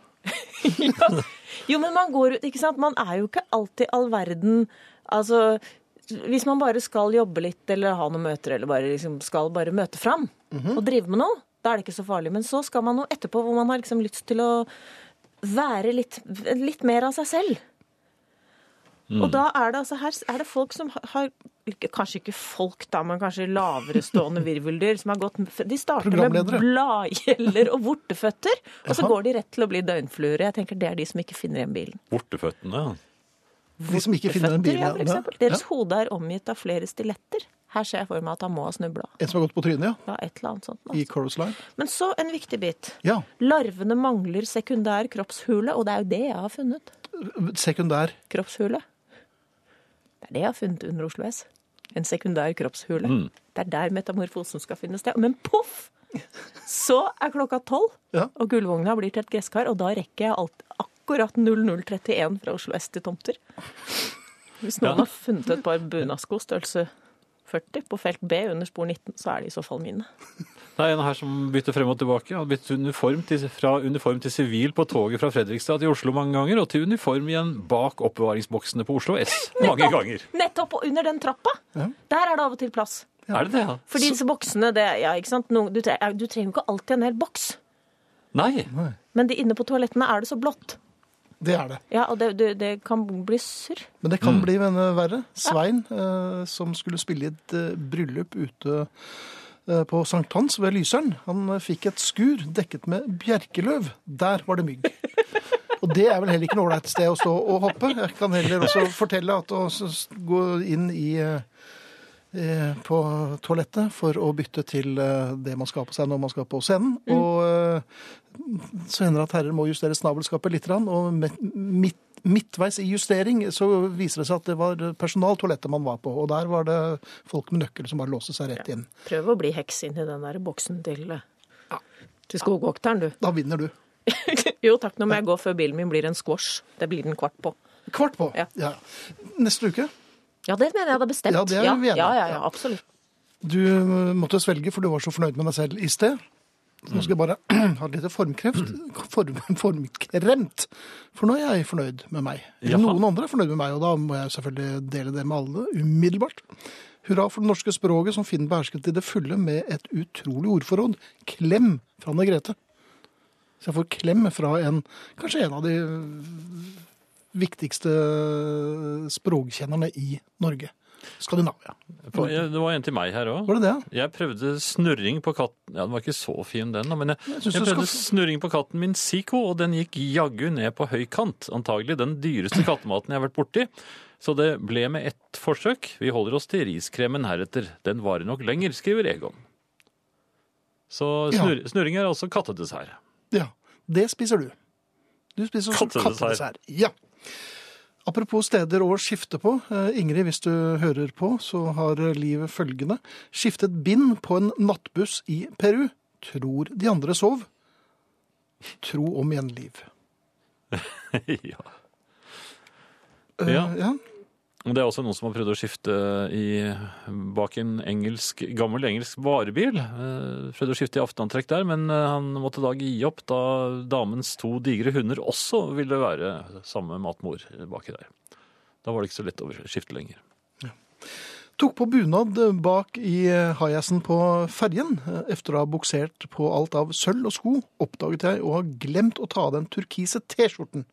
[SPEAKER 3] Jo, men man går ut, ikke sant? Man er jo ikke alltid all verden. Altså, hvis man bare skal jobbe litt eller ha noen møter, eller bare liksom skal bare møte fram og drive med noe, da er det ikke så farlig. Men så skal man noe etterpå hvor man har liksom lyst til å være litt, litt mer av seg selv. Og da er det altså her er det folk som har ikke- Kanskje ikke folk, da, men kanskje laverestående virveldyr som har gått De starter med
[SPEAKER 1] Programledere.
[SPEAKER 3] bladgjeller og vorteføtter, og så går de rett til å bli døgnfluer. Jeg tenker det er de som ikke finner igjen bilen.
[SPEAKER 2] Borteføttene.
[SPEAKER 1] De som ikke finner den
[SPEAKER 3] Føtter, ja,
[SPEAKER 1] bilen.
[SPEAKER 3] for eksempel. Deres hode er omgitt av flere stiletter. Her ser jeg for meg at han må ha snubla.
[SPEAKER 1] En som har gått på trynet, ja.
[SPEAKER 3] Ja, et eller annet sånt.
[SPEAKER 1] I
[SPEAKER 3] Altså.
[SPEAKER 1] Chorus Line.
[SPEAKER 3] Men så en viktig bit.
[SPEAKER 1] Ja.
[SPEAKER 3] Larvene mangler sekundær kroppshule, og det er jo det jeg har funnet.
[SPEAKER 1] Sekundær.
[SPEAKER 3] Kroppshule. Det er det jeg har funnet under Oslo S. En sekundær kroppshule.
[SPEAKER 1] Mm.
[SPEAKER 3] Det er der metamorfosen skal finne sted. Men poff! Så er klokka tolv,
[SPEAKER 1] Ja.
[SPEAKER 3] og gullvogna blir til et gresskar, og da rekker jeg alt, akkurat 0031 fra Oslo S til tomter. Hvis noen
[SPEAKER 2] Ja.
[SPEAKER 3] har funnet et par bunadsko størrelse 40 på felt B under spor 19, så er det i så fall mine.
[SPEAKER 2] Det er en her som bytter frem og tilbake. Han har byttet uniform til, fra uniform til sivil på toget fra Fredrikstad til Oslo mange ganger, og til uniform igjen bak oppbevaringsboksene på Oslo S mange ganger.
[SPEAKER 3] Nettopp! Og under den trappa! Der er det av og til plass.
[SPEAKER 2] Er det det? ja?
[SPEAKER 3] Fordi disse boksene, det, ja, ikke sant? Noen, du, tre, du trenger jo ikke alltid en hel boks.
[SPEAKER 2] Nei.
[SPEAKER 3] Men de inne på toalettene er det så blått.
[SPEAKER 1] Det er det.
[SPEAKER 3] Ja, og det, det, det kan bli surr.
[SPEAKER 1] Men det kan bli venne verre. Svein, eh, som skulle spille i et eh, bryllup ute eh, på sankthans ved Lyseren, han eh, fikk et skur dekket med bjerkeløv. Der var det mygg. Og det er vel heller ikke noe ålreit sted å stå og hoppe. Jeg kan heller også fortelle at å s- s- gå inn i eh, eh, på toalettet for å bytte til eh, det man skal ha på seg når man skal på scenen. Og eh, så hender det at herrer må justere snabelskapet litt, og me- midt, midtveis i justering så viser det seg at det var personaltoalettet man var på, og der var det folk med nøkkel som bare låste seg rett inn.
[SPEAKER 3] Prøv å bli heks inn i den der boksen til, eh, til skogvokteren, du.
[SPEAKER 1] Da vinner du.
[SPEAKER 3] jo takk, nå må jeg gå før bilen min blir en squash. Det blir den kvart på.
[SPEAKER 1] Kvart på.
[SPEAKER 3] Ja.
[SPEAKER 1] Ja. Neste uke.
[SPEAKER 3] Ja, det mener jeg hadde bestemt.
[SPEAKER 1] Ja, det er vi enige om.
[SPEAKER 3] ja, ja, ja, absolutt.
[SPEAKER 1] Du eh, måtte svelge, for du var så fornøyd med deg selv i sted. Så Nå skal jeg bare ha litt formkreft. Form, formkremt. For nå er jeg fornøyd med meg.
[SPEAKER 2] Jaha.
[SPEAKER 1] Noen andre er fornøyd med meg, og da må jeg selvfølgelig dele det med alle umiddelbart. Hurra for det norske språket som Finn behersket til det fulle med et utrolig ordforråd. Klem fra Anne Grete. Så jeg får klem fra en, kanskje en av de viktigste språkkjennerne i Norge. Skandinavia.
[SPEAKER 2] På- ja, Det var en til meg her òg.
[SPEAKER 1] Var det det?
[SPEAKER 2] Jeg prøvde snurring på katten Ja, den var ikke så fin, den, da, men jeg, jeg,
[SPEAKER 1] synes du skal
[SPEAKER 2] prøvde
[SPEAKER 1] få-
[SPEAKER 2] snurring på katten min Zico, og den gikk jaggu ned på høy kant. Antagelig den dyreste kattematen jeg har vært borti. Så det ble med ett forsøk. Vi holder oss til riskremen heretter. Den varer nok lenger, skriver Egon. Så
[SPEAKER 1] Ja.
[SPEAKER 2] snur, snurring er altså kattedessert.
[SPEAKER 1] Ja, det spiser du. Du spiser også kattedessert.
[SPEAKER 2] Kattedessert.
[SPEAKER 1] Ja. Apropos steder å skifte på. Eh, Ingrid, hvis du hører på, så har livet følgende. Skiftet bind på en nattbuss i Peru. Tror de andre sov. Tro om igjen liv.
[SPEAKER 2] ja.
[SPEAKER 1] Eh,
[SPEAKER 2] Ja.
[SPEAKER 1] ja.
[SPEAKER 2] Men Det er også noen som har prøvd å skifte i, bak en engelsk, gammel engelsk varebil. Eh, Prøvde å skifte i aftenantrekk der, men eh, han måtte da gi opp da damens to digre hunder også ville være samme matmor baki der. Da var det ikke så lett å skifte lenger.
[SPEAKER 1] Tok på bunad bak i hajasen på ferjen. Efter å ha buksert på alt av sølv og sko, oppdaget jeg å ha glemt å ta av den turkise T-skjorten.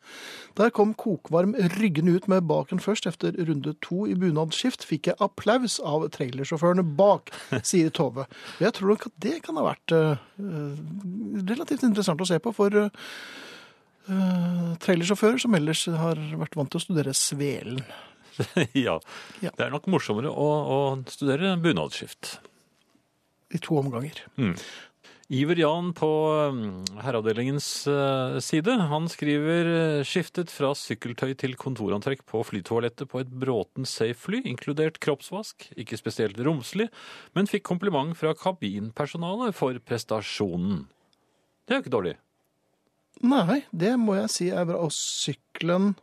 [SPEAKER 1] Der kom kokvarm ryggende ut med baken først. Efter runde to i bunadsskift fikk jeg applaus av trailersjåførene bak, sier Tove. Og jeg tror nok at det kan ha vært eh, eh, relativt interessant å se på for eh, eh, trailersjåfører som ellers har vært vant til å studere svelen.
[SPEAKER 2] ja.
[SPEAKER 1] Ja.
[SPEAKER 2] Det er nok morsommere å, å studere bunadsskift.
[SPEAKER 1] I to omganger.
[SPEAKER 2] Iver Jan på mm, herreavdelingens eh, side, han skriver eh, skiftet fra sykkeltøy til kontorantrekk på flytoalettet på et bråten safe fly, inkludert kroppsvask, ikke spesielt romslig, men fikk kompliment fra kabinpersonalet for prestasjonen. Det er jo ikke dårlig.
[SPEAKER 1] Nei, det må jeg si er bra. Og sykkelen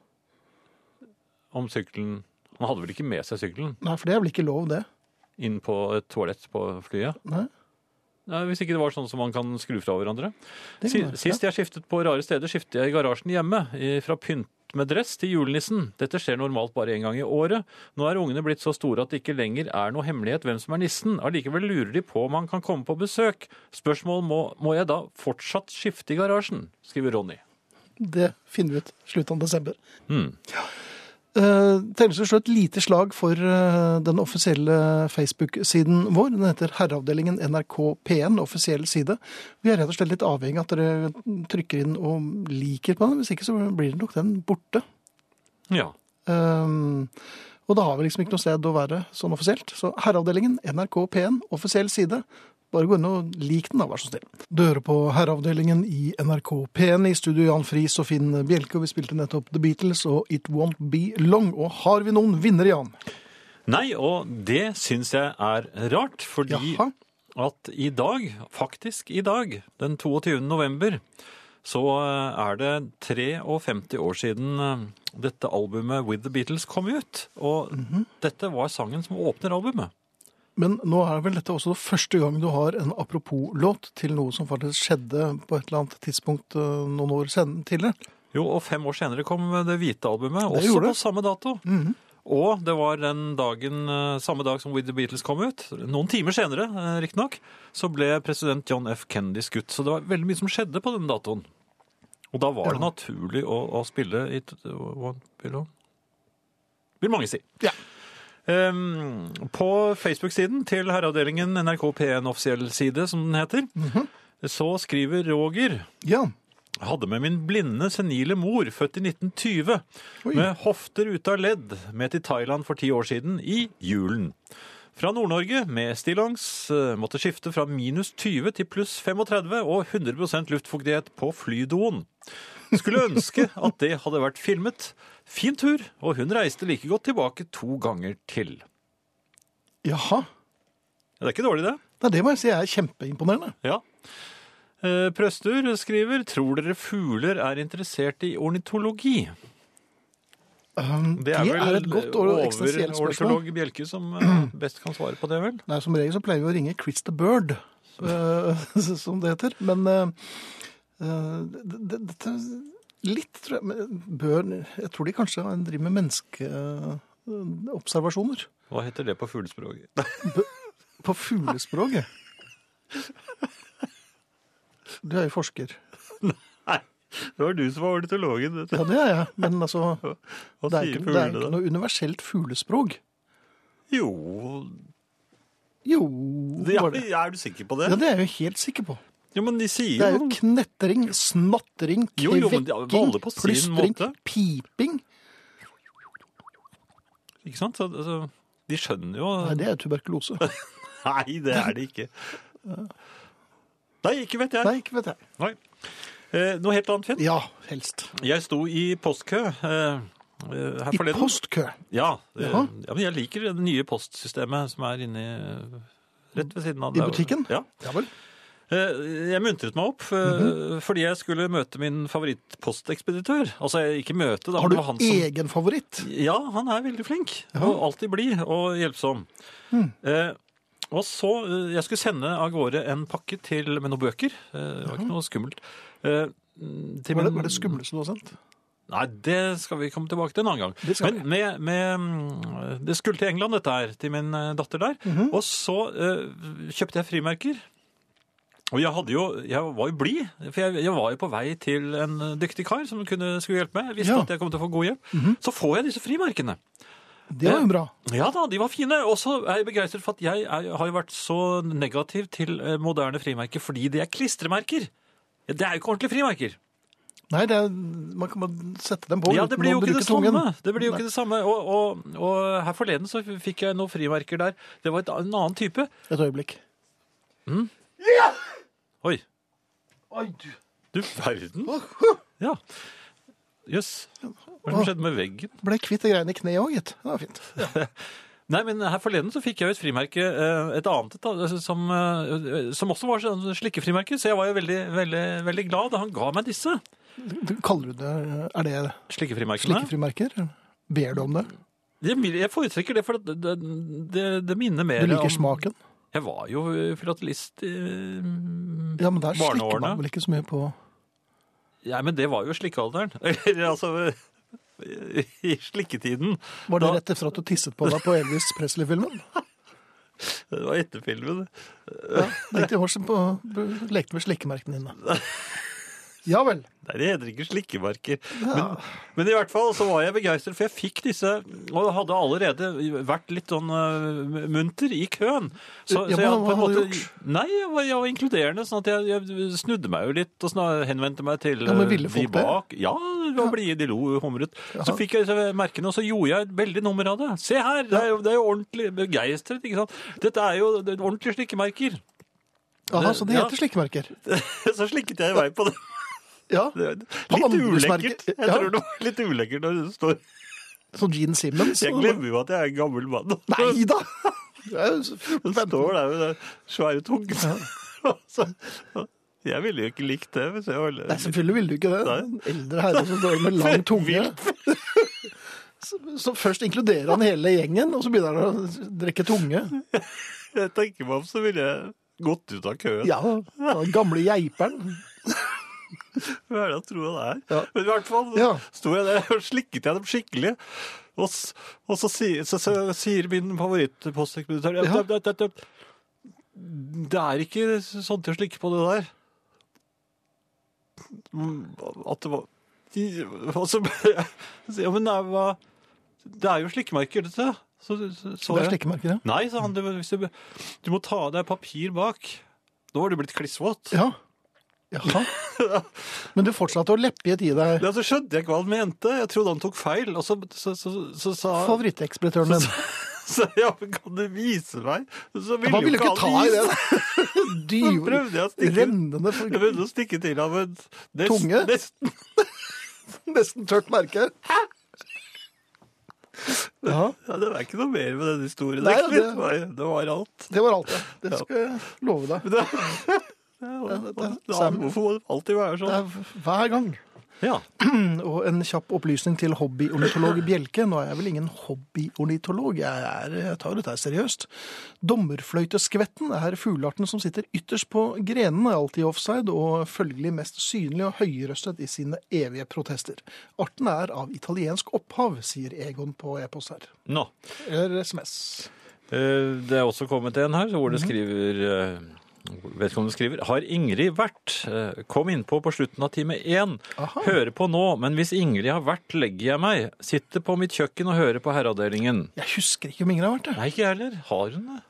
[SPEAKER 2] Om sykkelen Han hadde vel ikke med seg sykkelen
[SPEAKER 1] Nei, for det er vel ikke lov, det?
[SPEAKER 2] inn på et toalett på flyet?
[SPEAKER 1] Nei.
[SPEAKER 2] Nei, Hvis ikke det var sånn som man kan skru fra hverandre.
[SPEAKER 1] Det
[SPEAKER 2] Si-
[SPEAKER 1] kan være.
[SPEAKER 2] Sist jeg skiftet på rare steder, skiftet jeg i garasjen hjemme. i- Fra pynt med dress til julenissen. Dette skjer normalt bare én gang i året. Nå er ungene blitt så store at det ikke lenger er noe hemmelighet hvem som er nissen. Allikevel lurer de på om han kan komme på besøk. Spørsmål må, må jeg da fortsatt skifte i garasjen? skriver Ronny.
[SPEAKER 1] Det finner vi ut slutten av desember.
[SPEAKER 2] Mm.
[SPEAKER 1] Uh, Telles til slutt et lite slag for eh, den offisielle Facebook-siden vår. Den heter Herreavdelingen NRK P1, offisiell side. Vi er rett og slett litt avhengig av at dere trykker inn og liker på den. Hvis ikke så blir det nok den borte.
[SPEAKER 2] Ja.
[SPEAKER 1] Eh, Um, og da har vi liksom ikke noe sted å være sånn offisielt. Så Herreavdelingen, NRK P1, offisiell side. Bare gå inn og lik den, da, vær så snill. Du hører på Herreavdelingen i NRK P1 i studio Jan Friis og Finn Bjelke, og vi spilte nettopp The Beatles og It Won't Be Long. Og har vi noen vinnere, Jan?
[SPEAKER 2] Nei, og det syns jeg er rart, fordi
[SPEAKER 1] Jaha.
[SPEAKER 2] at i dag, faktisk i dag, den 22. november, så eh, er det 53 år siden eh, dette albumet With The Beatles kom ut. Og dette var sangen som åpner albumet.
[SPEAKER 1] Men nå er vel dette også første gang du har en apropos-låt til noe som faktisk skjedde på et eller annet tidspunkt øh, noen år sen- tidligere.
[SPEAKER 2] Jo, og fem år senere kom det hvite albumet, også
[SPEAKER 1] gjorde
[SPEAKER 2] på
[SPEAKER 1] det. Mhm.
[SPEAKER 2] samme dato. Og det var den dagen, eh, samme dag som With The Beatles kom ut, noen timer senere eh, riktignok, så ble president John F. Kennedy skutt. Så det var veldig mye som skjedde på den datoen. Og da var det naturlig å, å spille i t- One Below, vil mange si.
[SPEAKER 1] Ja.
[SPEAKER 2] Ehm, på Facebook-siden til herreavdelingen NRK P1 offisiell side, som den heter,
[SPEAKER 1] Mhm.
[SPEAKER 2] så skriver Roger
[SPEAKER 1] Ja.
[SPEAKER 2] hadde med min blinde, senile mor, født i 1920,
[SPEAKER 1] Oi.
[SPEAKER 2] med hofter ute av ledd, med til Thailand for ti år siden, i julen. Fra Nord-Norge, med stillongs, eh, måtte skifte fra minus 20 til pluss 35 og 100 luftfuktighet på flydoen. Skulle ønske at det hadde vært filmet. Fin tur, og hun reiste like godt tilbake to ganger til.
[SPEAKER 1] Jaha.
[SPEAKER 2] Det er ikke dårlig, det.
[SPEAKER 1] Nei, det må jeg si er kjempeimponerende.
[SPEAKER 2] Ja. Eh, Prøstur skriver Tror dere fugler er interessert i ornitologi?
[SPEAKER 1] Um,
[SPEAKER 2] Det er, vel
[SPEAKER 1] et godt og eksistensielt spørsmål.
[SPEAKER 2] Ornitolog Bjelke som eh, best kan svare på det, vel?
[SPEAKER 1] Nei, som regel så pleier vi å ringe Chris the Bird, øh, som det heter. Men øh, øh, det- det- dette Litt, tror jeg. men eh, Bør, jeg tror de kanskje driver med menneskeobservasjoner.
[SPEAKER 2] Hva heter det på fuglespråket? Nei,
[SPEAKER 1] På fuglespråket? Du er jo forsker.
[SPEAKER 2] det var du som var ornitologen.
[SPEAKER 1] Ja, det er jeg. Men altså,
[SPEAKER 2] Hva
[SPEAKER 1] det er ikke, det er
[SPEAKER 2] sier fuglene
[SPEAKER 1] ikke
[SPEAKER 2] da?
[SPEAKER 1] noe universelt fuglespråk.
[SPEAKER 2] Jo
[SPEAKER 1] Jo,
[SPEAKER 2] ja,
[SPEAKER 1] var det.
[SPEAKER 2] Er du sikker på det?
[SPEAKER 1] Ja, det er jeg jo helt sikker på.
[SPEAKER 2] Jo, men de
[SPEAKER 1] Det
[SPEAKER 2] sier
[SPEAKER 1] er
[SPEAKER 2] jo
[SPEAKER 1] jo knetring, snattring,
[SPEAKER 2] Jo, jo, men de-
[SPEAKER 1] kvekking,
[SPEAKER 2] alle på sin
[SPEAKER 1] plystring,
[SPEAKER 2] måte.
[SPEAKER 1] piping.
[SPEAKER 2] Ikke sant? Så, altså, de skjønner jo
[SPEAKER 1] Nei, det er tuberkulose.
[SPEAKER 2] Nei, det er det ikke. Nei, ikke vet jeg.
[SPEAKER 1] Nei, ikke vet jeg.
[SPEAKER 2] Nei. Eh, noe helt annet, Finn.
[SPEAKER 1] Ja, helst.
[SPEAKER 2] Jeg sto i postkø eh, eh, her
[SPEAKER 1] I
[SPEAKER 2] forleden.
[SPEAKER 1] postkø.
[SPEAKER 2] Ja, eh,
[SPEAKER 1] Jaha.
[SPEAKER 2] ja, men jeg liker det nye postsystemet som er inne i- rett ved siden av.
[SPEAKER 1] I
[SPEAKER 2] der.
[SPEAKER 1] butikken?
[SPEAKER 2] Ja.
[SPEAKER 1] Ja vel.
[SPEAKER 2] Eh, Jeg muntret meg opp eh,
[SPEAKER 1] Mhm.
[SPEAKER 2] fordi jeg skulle møte min favorittpostekspeditør. Altså, jeg- ikke møte, da. men
[SPEAKER 1] Har
[SPEAKER 2] det
[SPEAKER 1] du
[SPEAKER 2] var han som...
[SPEAKER 1] egen favoritt?
[SPEAKER 2] Ja, han er veldig flink. Og alltid blid og hjelpsom.
[SPEAKER 1] Mm.
[SPEAKER 2] Eh, og så, eh, Jeg skulle sende av gårde en pakke til, med noen bøker. Eh, det var ikke noe skummelt. Eh, til
[SPEAKER 1] Var det,
[SPEAKER 2] min-
[SPEAKER 1] var det skumleste du har sendt?
[SPEAKER 2] Nei, det skal vi komme tilbake til en annen gang.
[SPEAKER 1] Det skal
[SPEAKER 2] Men med, med, mm, det skulle til England, dette her, til min eh, datter der.
[SPEAKER 1] Mhm.
[SPEAKER 2] Og så eh, kjøpte jeg frimerker. Og jeg, hadde jo, jeg var jo blid, for jeg, jeg var jo på vei til en eh, dyktig kar som kunne, skulle hjelpe meg. Jeg visste
[SPEAKER 1] Ja. Mhm.
[SPEAKER 2] at jeg kom til å få god hjelp. Så får jeg disse frimerkene.
[SPEAKER 1] Det var jo bra.
[SPEAKER 2] Ja da, de var fine. Og så er jeg begeistret for at jeg er, har jo vært så negativ til eh, moderne frimerker fordi de er klistremerker. Ja, Det er jo ikke ordentlige frimerker.
[SPEAKER 1] Nei, det er, man kan bare sette dem på.
[SPEAKER 2] Ja,
[SPEAKER 1] uten
[SPEAKER 2] det
[SPEAKER 1] å
[SPEAKER 2] blir jo ikke
[SPEAKER 1] bruke
[SPEAKER 2] det
[SPEAKER 1] tungen.
[SPEAKER 2] samme. Det blir jo ikke det samme. Og, og, og her forleden så fikk jeg noen frimerker der. Det var et, en annen type.
[SPEAKER 1] Et øyeblikk.
[SPEAKER 2] Oi,
[SPEAKER 1] Oi, du.
[SPEAKER 2] du verden. Ja. Jøss. Hva er det
[SPEAKER 1] Åh.
[SPEAKER 2] som skjedde med veggen?
[SPEAKER 1] Ble kvitt det greiene i kneet òg, gitt. Det var fint.
[SPEAKER 2] Nei, men her forleden så fikk jeg jo et frimerke, eh, et annet et, da, som, eh, som også var sånn slikkefrimerke, så jeg var jo veldig, veldig, veldig glad da han ga meg disse
[SPEAKER 1] Du, kaller du det Er det
[SPEAKER 2] slikkefrimerkene.
[SPEAKER 1] slikkefrimerker? Ber du om det?
[SPEAKER 2] Jeg, jeg foretrekker det, for at det, det, det minner mer
[SPEAKER 1] Du liker
[SPEAKER 2] om-
[SPEAKER 1] smaken?
[SPEAKER 2] Jeg var jo filatelist eh,
[SPEAKER 1] Ja, men der slikker
[SPEAKER 2] barneårene.
[SPEAKER 1] man vel ikke så mye på
[SPEAKER 2] Ja, men det var jo slikkealderen. Eller altså I slikketiden.
[SPEAKER 1] Var det
[SPEAKER 2] Da-
[SPEAKER 1] rett etter at du tisset på deg på Elvis Presley-filmen?
[SPEAKER 2] Det var etter filmen.
[SPEAKER 1] Ja, Gikk til horsen på Lekte med slikkemerkene dine. Ja vel.
[SPEAKER 2] Nei, det heter ikke slikkemerker. Men, men i hvert fall så var jeg begeistret, for jeg fikk disse og hadde allerede vært litt sånn øh, munter i køen. Så,
[SPEAKER 1] Ja,
[SPEAKER 2] så jeg
[SPEAKER 1] men hva hadde du
[SPEAKER 2] Nei, jeg var, jeg var inkluderende, sånn at jeg, jeg snudde meg jo litt og snak- henvendte meg til
[SPEAKER 1] Ja, men
[SPEAKER 2] øh,
[SPEAKER 1] ville
[SPEAKER 2] de
[SPEAKER 1] folk det?
[SPEAKER 2] bak. Ja, de var blide, de lo og humret. Så fikk jeg disse merkene, og så gjorde jeg et veldig nummer av det. Se her, det er jo, det er jo ordentlig begeistret, ikke sant? Dette er jo det er ordentlige slikkemerker.
[SPEAKER 1] Aha, så det
[SPEAKER 2] Ja.
[SPEAKER 1] heter slikkemerker.
[SPEAKER 2] Så slikket jeg i vei på det.
[SPEAKER 1] Ja.
[SPEAKER 2] Det er Litt
[SPEAKER 1] Vandresmerke-
[SPEAKER 2] ulekkert. Jeg
[SPEAKER 1] Ja.
[SPEAKER 2] tror det var litt ulekkert når det står
[SPEAKER 1] Så Gene Simmons.
[SPEAKER 2] Jeg glemmer jo at jeg er en gammel mann.
[SPEAKER 1] Nei da! Du er jo
[SPEAKER 2] Den
[SPEAKER 1] 14-15.
[SPEAKER 2] står der med den svære tungen. Så- Jeg ville jo ikke likt det hvis jeg var
[SPEAKER 1] Nei, selvfølgelig ville du ikke det.
[SPEAKER 2] Nei.
[SPEAKER 1] En eldre herre som står med lang tunge. Så, så først inkluderer han hele gjengen, og så begynner han å drikke tunge.
[SPEAKER 2] Jeg tenker meg om, så ville jeg gått ut av køen.
[SPEAKER 1] Ja, den gamle geiperen.
[SPEAKER 2] Hva er det jeg tror han er?
[SPEAKER 1] Ja.
[SPEAKER 2] Men i hvert fall
[SPEAKER 1] Ja.
[SPEAKER 2] sto jeg der og slikket jeg dem skikkelig. Og, s- og så, sier, så, så sier min favorittpostekspeditør
[SPEAKER 1] Ja.
[SPEAKER 2] det, det, det, det er ikke sånn til å slikke på det der. Mm, At det var og så, ja, men det er, hva- det er jo slikkemerker, dette. Så, så, så
[SPEAKER 1] Det er
[SPEAKER 2] jeg.
[SPEAKER 1] slikkemerker, ja.
[SPEAKER 2] Nei, sa han. Du, hvis du, du må ta av deg papir bak. Nå har du blitt klissvåt.
[SPEAKER 1] ja. Jaha. Men du fortsatte å leppjet i deg
[SPEAKER 2] Ja, så skjønte jeg ikke hva han mente. Jeg trodde han tok feil. Og så så- så- så sa
[SPEAKER 1] favorittekspeditøren din.
[SPEAKER 2] så, ja, men kan du vise meg? Så ville
[SPEAKER 1] Han ville
[SPEAKER 2] jo
[SPEAKER 1] ikke ta i
[SPEAKER 2] vise.
[SPEAKER 1] den.
[SPEAKER 2] Så prøvde jeg
[SPEAKER 1] Dyr,
[SPEAKER 2] å stikke-
[SPEAKER 1] rennende for
[SPEAKER 2] Jeg begynte å stikke til ham en nest-
[SPEAKER 1] Tunge?
[SPEAKER 2] Nesten.
[SPEAKER 1] Nesten tørt merke. Ja,
[SPEAKER 2] Ja, det var ikke noe mer med den historien.
[SPEAKER 1] Nei,
[SPEAKER 2] egentlig.
[SPEAKER 1] det-
[SPEAKER 2] det... var- det var alt.
[SPEAKER 1] det var alt. ja. Det skal jeg love deg.
[SPEAKER 2] Men det, det, det,
[SPEAKER 1] det- Sam-
[SPEAKER 2] hvorfor må det alltid være
[SPEAKER 1] Det
[SPEAKER 2] sånn?
[SPEAKER 1] er hver gang.
[SPEAKER 2] Ja.
[SPEAKER 1] Og en kjapp opplysning til hobbyornitolog Bjelke. Nå er jeg vel ingen hobbyornitolog, jeg, er, jeg tar dette her seriøst. Dommerfløyteskvetten er fuglearten som sitter ytterst på grenene, alltid offside, og følgelig mest synlig og høyrøstet i sine evige protester. Arten er av italiensk opphav, sier Egon på e-post her.
[SPEAKER 2] Nå.
[SPEAKER 1] Eller SMS.
[SPEAKER 2] Eh, Det er også kommet en her hvor
[SPEAKER 1] Mhm.
[SPEAKER 2] det skriver eh, Vedkommende skriver Har Ingrid vært? Eh, Kom innpå på slutten av time én.
[SPEAKER 1] Aha.
[SPEAKER 2] Hører på nå, men hvis Ingrid har vært, legger jeg meg. Sitter på mitt kjøkken og hører på Herreavdelingen.
[SPEAKER 1] Jeg husker ikke om ingen har vært det.
[SPEAKER 2] Nei, ikke jeg heller. Har hun det?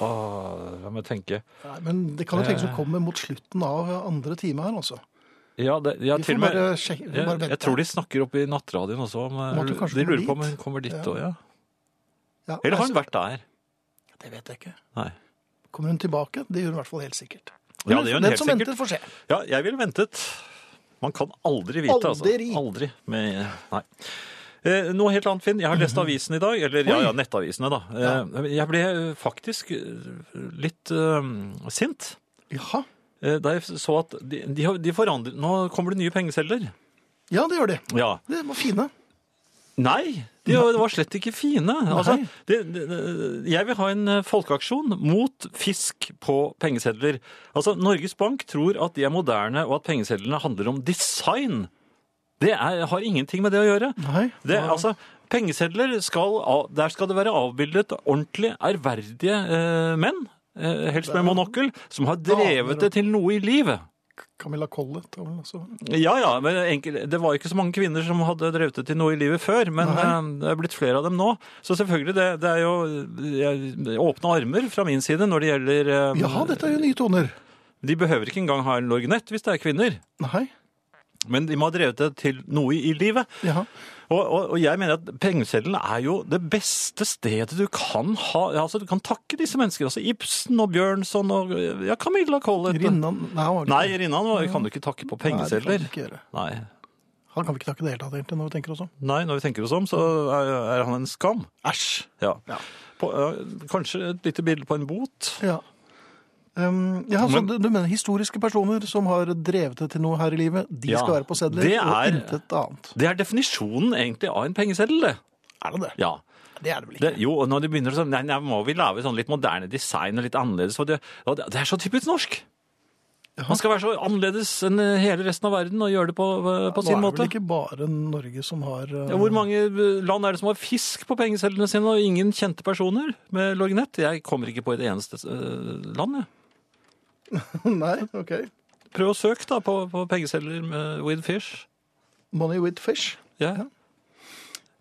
[SPEAKER 2] Åh, la meg tenke.
[SPEAKER 1] Nei, men det kan jo tenkes å komme mot slutten av andre time her, altså.
[SPEAKER 2] Ja, det, ja
[SPEAKER 1] Vi
[SPEAKER 2] til
[SPEAKER 1] får
[SPEAKER 2] og med
[SPEAKER 1] bare, sjekke, vi får bare
[SPEAKER 2] jeg,
[SPEAKER 1] vente.
[SPEAKER 2] jeg tror de snakker oppe i nattradioen også om
[SPEAKER 1] Om
[SPEAKER 2] eh,
[SPEAKER 1] at hun kanskje
[SPEAKER 2] De
[SPEAKER 1] kommer
[SPEAKER 2] lurer på om
[SPEAKER 1] dit.
[SPEAKER 2] hun kommer dit
[SPEAKER 1] Ja.
[SPEAKER 2] òg, ja.
[SPEAKER 1] Ja,
[SPEAKER 2] Eller har
[SPEAKER 1] altså,
[SPEAKER 2] hun vært der?
[SPEAKER 1] Det vet jeg ikke.
[SPEAKER 2] Nei.
[SPEAKER 1] Kommer hun tilbake? Det gjør hun i hvert fall helt sikkert.
[SPEAKER 2] Ja, det gjør hun
[SPEAKER 1] Den
[SPEAKER 2] helt
[SPEAKER 1] som
[SPEAKER 2] sikkert.
[SPEAKER 1] venter, får se.
[SPEAKER 2] Ja, jeg ville ventet. Man kan aldri vite,
[SPEAKER 1] Aldri.
[SPEAKER 2] altså. Aldri. Med, nei. Eh, noe helt annet, Finn. Jeg har lest avisen i dag. Eller ja, ja, nettavisene, da. Eh, jeg ble eh, faktisk eh, litt eh, sint
[SPEAKER 1] Jaha.
[SPEAKER 2] eh, da jeg så at de, de, har- de forandrer Nå kommer det nye pengesedler.
[SPEAKER 1] Ja, det gjør de.
[SPEAKER 2] Ja.
[SPEAKER 1] Det var fine.
[SPEAKER 2] Nei, de var- var slett ikke fine. Altså,
[SPEAKER 1] Nei.
[SPEAKER 2] det, det, det- jeg vil ha en eh, folkeaksjon mot fisk på pengesedler. Altså, Norges Bank tror at de er moderne, og at pengesedlene handler om design. Det er, har ingenting med det å gjøre.
[SPEAKER 1] Nei.
[SPEAKER 2] Det, altså, pengesedler skal, av- der skal det være avbildet ordentlig ærverdige eh, menn, eh, helst med monokkel, som har
[SPEAKER 1] Damer og-
[SPEAKER 2] drevet det til noe i livet.
[SPEAKER 1] Camilla Collett har vel også
[SPEAKER 2] Ja, ja, men enkel, det var jo ikke så mange kvinner som hadde drevet det til noe i livet før, men eh, det er blitt flere av dem nå. Så selvfølgelig, det, det er jo jeg, åpne armer fra min side når det gjelder eh,
[SPEAKER 1] Jaha, dette er jo nye toner.
[SPEAKER 2] De behøver ikke engang ha en lorgnett hvis det er kvinner,
[SPEAKER 1] Nei.
[SPEAKER 2] men de må ha drevet det til noe i, i livet.
[SPEAKER 1] Jaha.
[SPEAKER 2] Og, og, og jeg mener at pengeseddelen er jo det beste stedet du kan ha Altså, du kan takke disse menneskene. Altså Ibsen og Bjørnson og ja, Camilla Collett.
[SPEAKER 1] Rinnan Nei, han var ikke-
[SPEAKER 2] Nei, Rinnan var- kan du ikke takke på
[SPEAKER 1] Nei, det kan vi
[SPEAKER 2] pengesedler.
[SPEAKER 1] ikke gjøre.
[SPEAKER 2] Nei.
[SPEAKER 1] Han kan vi ikke takke i det hele tatt, egentlig, når vi tenker oss om.
[SPEAKER 2] Nei, når vi tenker oss om, så er, er han en skam.
[SPEAKER 1] Æsj.
[SPEAKER 2] Ja.
[SPEAKER 1] Ja.
[SPEAKER 2] På, ja, kanskje et lite bilde på en bot.
[SPEAKER 1] Ja. Um, ja, så
[SPEAKER 2] Men-
[SPEAKER 1] du, du mener historiske personer som har drevet det til noe her i livet, de
[SPEAKER 2] Ja,
[SPEAKER 1] skal være på sedler,
[SPEAKER 2] det
[SPEAKER 1] og
[SPEAKER 2] er-
[SPEAKER 1] intet annet.
[SPEAKER 2] Det er definisjonen egentlig av en pengeseddel, det.
[SPEAKER 1] Er det det?
[SPEAKER 2] Ja.
[SPEAKER 1] Det er det vel ikke.
[SPEAKER 2] Det, jo, og når de begynner sånn, nei, nei, må vi lage sånn litt moderne design og litt annerledes, for det, og det, det er så typisk norsk. Man skal være så annerledes enn hele resten av verden og gjøre det på, på
[SPEAKER 1] Nå er
[SPEAKER 2] sin
[SPEAKER 1] det
[SPEAKER 2] måte.
[SPEAKER 1] vel ikke bare Norge som har uh,
[SPEAKER 2] Ja, Hvor mange eh, land er det som har fisk på pengesedlene sine, og ingen kjente personer med lorgnett? Jeg kommer ikke på et eneste eh, land, jeg.
[SPEAKER 1] Nei, ok.
[SPEAKER 2] Prøv å søke da på, på pengesedler med with fish.
[SPEAKER 1] Money with fish.
[SPEAKER 2] Ja.
[SPEAKER 1] Ja.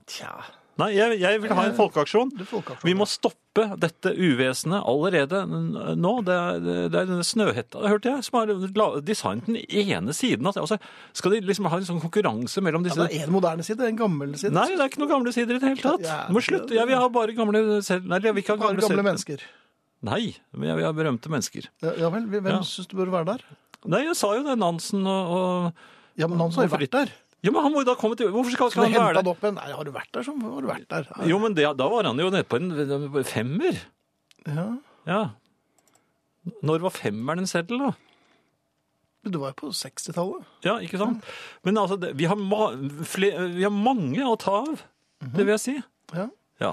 [SPEAKER 2] Tja. Nei, jeg, jeg vil ha en folkeaksjon.
[SPEAKER 1] Det er Eh, folkeaksjon.
[SPEAKER 2] Vi må stoppe dette uvesenet allerede n- nå. Det er, det er denne Snøhetta, hørte jeg, som har la- designet den ene siden. Altså, altså, skal de liksom ha en sånn konkurranse mellom
[SPEAKER 1] ja,
[SPEAKER 2] disse
[SPEAKER 1] det er en moderne side, en gammel side.
[SPEAKER 2] Nei, det er ikke noen gamle sider i det hele tatt.
[SPEAKER 1] Ja,
[SPEAKER 2] Du må slutte. Jeg vil ha bare gamle selv... Nei, jeg vil ikke ha
[SPEAKER 1] Bare
[SPEAKER 2] gamle,
[SPEAKER 1] gamle
[SPEAKER 2] selv...
[SPEAKER 1] mennesker.
[SPEAKER 2] Nei, men jeg vil ha berømte mennesker.
[SPEAKER 1] Ja, ja vel, hvem
[SPEAKER 2] Ja.
[SPEAKER 1] syns du bør være der?
[SPEAKER 2] Nei, jeg sa jo det. Nansen og, og...
[SPEAKER 1] Ja, men han som har jo
[SPEAKER 2] Hvorfor
[SPEAKER 1] vært der.
[SPEAKER 2] Ja, men han må jo da komme til Hvorfor skal,
[SPEAKER 1] Skal
[SPEAKER 2] skal
[SPEAKER 1] du
[SPEAKER 2] han
[SPEAKER 1] hente
[SPEAKER 2] være
[SPEAKER 1] han
[SPEAKER 2] der?
[SPEAKER 1] opp igjen? Nei, har du vært der, så har du vært der. Ja.
[SPEAKER 2] Jo, men det, da var han jo nede på en femmer.
[SPEAKER 1] Ja.
[SPEAKER 2] Ja. Når var femmeren en seddel, da?
[SPEAKER 1] Men du var jo på 60-tallet.
[SPEAKER 2] Ja, ikke sant? Men altså, det, vi, har ma fle vi har mange å ta av, det vil jeg si.
[SPEAKER 1] Ja.
[SPEAKER 2] Ja.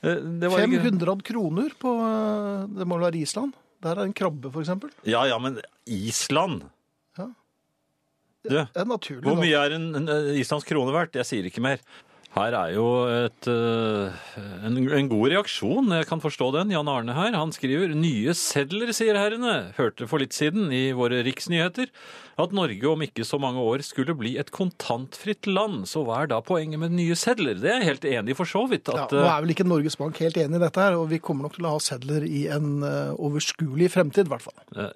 [SPEAKER 2] Eh, Det var ikke-
[SPEAKER 1] 500 kroner på eh, Det må vel være Island? Der er en krabbe, for eksempel.
[SPEAKER 2] Ja, ja, men Island
[SPEAKER 1] Ja.
[SPEAKER 2] Du,
[SPEAKER 1] Det er naturlig.
[SPEAKER 2] hvor
[SPEAKER 1] nå.
[SPEAKER 2] mye er en, en, en islandsk krone verdt? Jeg sier ikke mer. Her er jo et, eh, en, en god reaksjon, jeg kan forstå den. Jan Arne her, han skriver nye sedler, sier herrene. Hørte for litt siden i våre riksnyheter at Norge om ikke så mange år skulle bli et kontantfritt land. Så hva er da poenget med nye sedler? Det er jeg helt enig i for så vidt.
[SPEAKER 1] Ja,
[SPEAKER 2] At, eh,
[SPEAKER 1] nå er vel ikke Norges Bank helt enig i dette, her, og vi kommer nok til å ha sedler i en eh, overskuelig fremtid, i hvert fall.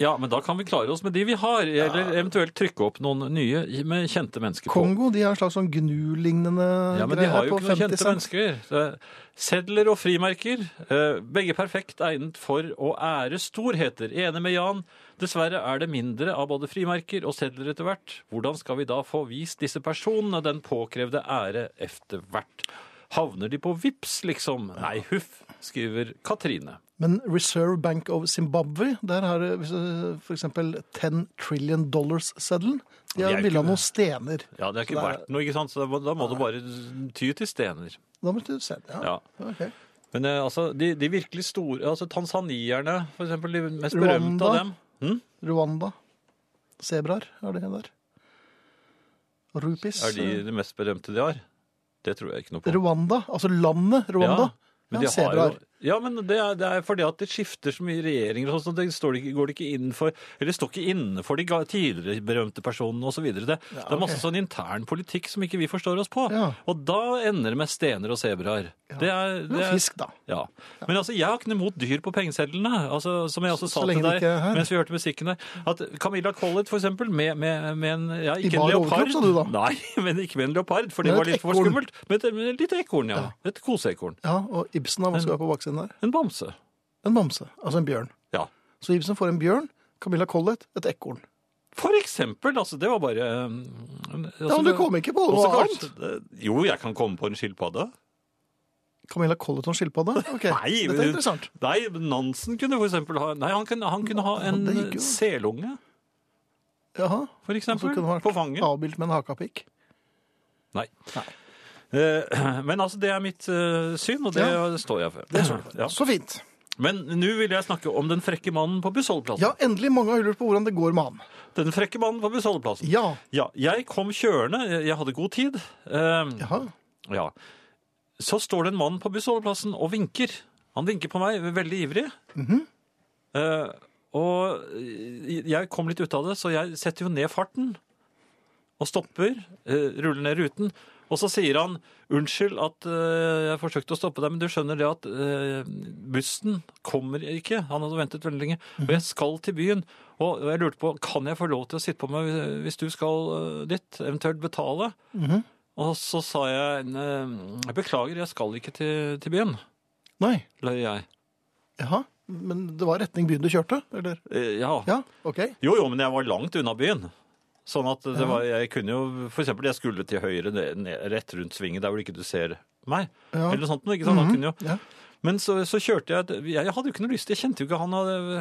[SPEAKER 2] Ja, men da kan vi klare oss med de vi har, eller eventuelt trykke opp noen nye i- med kjente mennesker på.
[SPEAKER 1] Kongo de har en slags sånn gnu-lignende
[SPEAKER 2] Ja, men de
[SPEAKER 1] greie
[SPEAKER 2] har
[SPEAKER 1] på
[SPEAKER 2] jo ikke
[SPEAKER 1] 50
[SPEAKER 2] noen kjente
[SPEAKER 1] cent.
[SPEAKER 2] mennesker. Så, Sedler og frimerker, eh, begge perfekt egnet for å ære storheter. Enig med Jan, dessverre er det mindre av både frimerker og sedler etter hvert. Hvordan skal vi da få vist disse personene den påkrevde ære etter hvert? Havner de på vips, liksom? Nei, huff, skriver Katrine.
[SPEAKER 1] Men Reserve Bank of Zimbabwe, der har eh, det f.eks. 10 trillion dollars-seddelen. De
[SPEAKER 2] er
[SPEAKER 1] har
[SPEAKER 2] ikke-
[SPEAKER 1] bilde av noen stener.
[SPEAKER 2] Ja, det er
[SPEAKER 1] Så
[SPEAKER 2] ikke
[SPEAKER 1] det er-
[SPEAKER 2] verdt noe, ikke sant? Så da må- da må du bare ty til stener.
[SPEAKER 1] Da må du se. Ja.
[SPEAKER 2] Ja.
[SPEAKER 1] ok.
[SPEAKER 2] Men eh, altså, de, de virkelig store altså Tanzanierne, for eksempel, de mest
[SPEAKER 1] Rwanda.
[SPEAKER 2] berømte av dem. Hm?
[SPEAKER 1] Rwanda. Sebraer er det der. Rupis.
[SPEAKER 2] Er de de mest berømte de har? Det tror jeg ikke noe på.
[SPEAKER 1] Rwanda, altså landet Rwanda. Ja,
[SPEAKER 2] men de har jo,
[SPEAKER 1] sebraer.
[SPEAKER 2] ja, men det er, det er fordi at det skifter så mye regjeringer og sånn, så det står det ikke, går det ikke inn for Eller det står ikke inne for de ga- tidligere berømte personene osv. Det, det er masse sånn intern politikk som ikke vi forstår oss på.
[SPEAKER 1] Ja.
[SPEAKER 2] Og da ender det med stener og sebraer. Det er, det
[SPEAKER 1] Men
[SPEAKER 2] er
[SPEAKER 1] Fisk, da.
[SPEAKER 2] Ja. Men altså, jeg har ikke noe imot dyr på pengesedlene. Altså, som jeg også
[SPEAKER 1] Så
[SPEAKER 2] sa
[SPEAKER 1] lenge
[SPEAKER 2] til
[SPEAKER 1] det
[SPEAKER 2] deg
[SPEAKER 1] ikke er her.
[SPEAKER 2] mens vi hørte musikken der. At Camilla Collett, for eksempel, med, med, med en ja,
[SPEAKER 1] I
[SPEAKER 2] ikke
[SPEAKER 1] bar
[SPEAKER 2] en leopard.
[SPEAKER 1] overkropp, sa du da?
[SPEAKER 2] Nei, men ikke med en leopard, for
[SPEAKER 1] Men
[SPEAKER 2] det var
[SPEAKER 1] et
[SPEAKER 2] litt for
[SPEAKER 1] ekorn.
[SPEAKER 2] skummelt. Men et, men et lite ekorn, ja. Et koseekorn.
[SPEAKER 1] Ja, og Ibsen har hva skal være på baksiden der?
[SPEAKER 2] En bamse.
[SPEAKER 1] En bamse, altså en bjørn.
[SPEAKER 2] Ja.
[SPEAKER 1] Så Ibsen får en bjørn, Camilla Collett et ekorn.
[SPEAKER 2] For eksempel, altså. Det var bare um,
[SPEAKER 1] Ja,
[SPEAKER 2] altså,
[SPEAKER 1] men du kom ikke på noe
[SPEAKER 2] også
[SPEAKER 1] annet!
[SPEAKER 2] kanskje- det- Jo, jeg kan komme på en skilpadde.
[SPEAKER 1] Camilla Collett og en skilpadde? Ok,
[SPEAKER 2] Nei,
[SPEAKER 1] Dette
[SPEAKER 2] men-
[SPEAKER 1] er interessant.
[SPEAKER 2] Nei, Nansen kunne for eksempel ha Nei, han kunne, han kunne ha
[SPEAKER 1] Ja,
[SPEAKER 2] en
[SPEAKER 1] det gikk jo.
[SPEAKER 2] selunge,
[SPEAKER 1] Jaha.
[SPEAKER 2] for
[SPEAKER 1] Og så
[SPEAKER 2] eksempel.
[SPEAKER 1] kunne det vært
[SPEAKER 2] På fanget.
[SPEAKER 1] avbildt med en hakapikk.
[SPEAKER 2] Nei. Eh, Men altså, det er mitt eh, syn, og det
[SPEAKER 1] Ja.
[SPEAKER 2] står jeg for. Ja.
[SPEAKER 1] Så fint.
[SPEAKER 2] Men nå vil jeg snakke om den frekke mannen på bussholdeplassen.
[SPEAKER 1] Ja, endelig mange har lurt på hvordan det går med han.
[SPEAKER 2] Den frekke mannen på bussholdeplassen.
[SPEAKER 1] Ja.
[SPEAKER 2] jeg kom kjørende, jeg- jeg hadde god tid. Eh,
[SPEAKER 1] Jaha.
[SPEAKER 2] ja. Så står det en mann på bussholdeplassen og vinker. Han vinker på meg, veldig ivrig. Eh, og eh, jeg kom litt ut av det, så jeg setter jo ned farten og stopper, eh, ruller ned ruten, og så sier han unnskyld at eh, jeg forsøkte å stoppe deg, men du skjønner det at eh, bussen kommer ikke. Han hadde ventet veldig lenge. Og jeg skal til byen. Og jeg lurte på kan jeg få lov til å sitte på meg hvis- hvis du skal eh, dit, eventuelt betale. Og så sa jeg «Ne, jeg beklager, jeg skal ikke til, til byen,
[SPEAKER 1] Nei.
[SPEAKER 2] løy jeg.
[SPEAKER 1] Jaha. Men det var retning byen du kjørte, eller?
[SPEAKER 2] Eh, ja.
[SPEAKER 1] Ja, OK.
[SPEAKER 2] Jo, jo, men jeg var langt unna byen. Sånn at det var, jeg kunne jo For eksempel, jeg skulle til høyre, ned- ned- rett rundt svingen, der hvor ikke du ser meg.
[SPEAKER 1] Ja.
[SPEAKER 2] Eller noe sånt. ikke sant? Da kunne jo.
[SPEAKER 1] Ja.
[SPEAKER 2] Men så, så kjørte jeg et- Jeg hadde jo ikke noe lyst. Jeg kjente jo ikke han hadde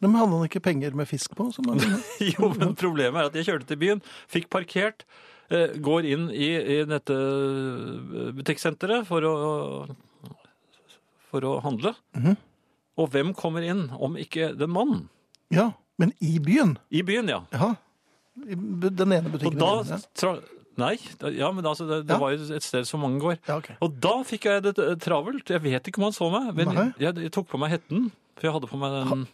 [SPEAKER 1] Nei, Men hadde han ikke penger med fisk på? Som han,
[SPEAKER 2] Jo, men problemet er at jeg kjørte til byen, fikk parkert, eh, går inn i, i dette butikksenteret for å, for å handle.
[SPEAKER 1] Mhm.
[SPEAKER 2] Og hvem kommer inn om ikke den mannen?
[SPEAKER 1] ja, men i byen?
[SPEAKER 2] I byen, ja.
[SPEAKER 1] Ja. I bu- den ene
[SPEAKER 2] Og
[SPEAKER 1] butikken. i byen, ja.
[SPEAKER 2] da tra Nei, da- ja, men altså, det, det
[SPEAKER 1] Ja.
[SPEAKER 2] var jo et sted som mange går.
[SPEAKER 1] Ja, ok.
[SPEAKER 2] Og da fikk jeg det eh, travelt. Jeg vet ikke om han så meg, men
[SPEAKER 1] Nei.
[SPEAKER 2] jeg, jeg tok på meg hetten. For jeg hadde på meg den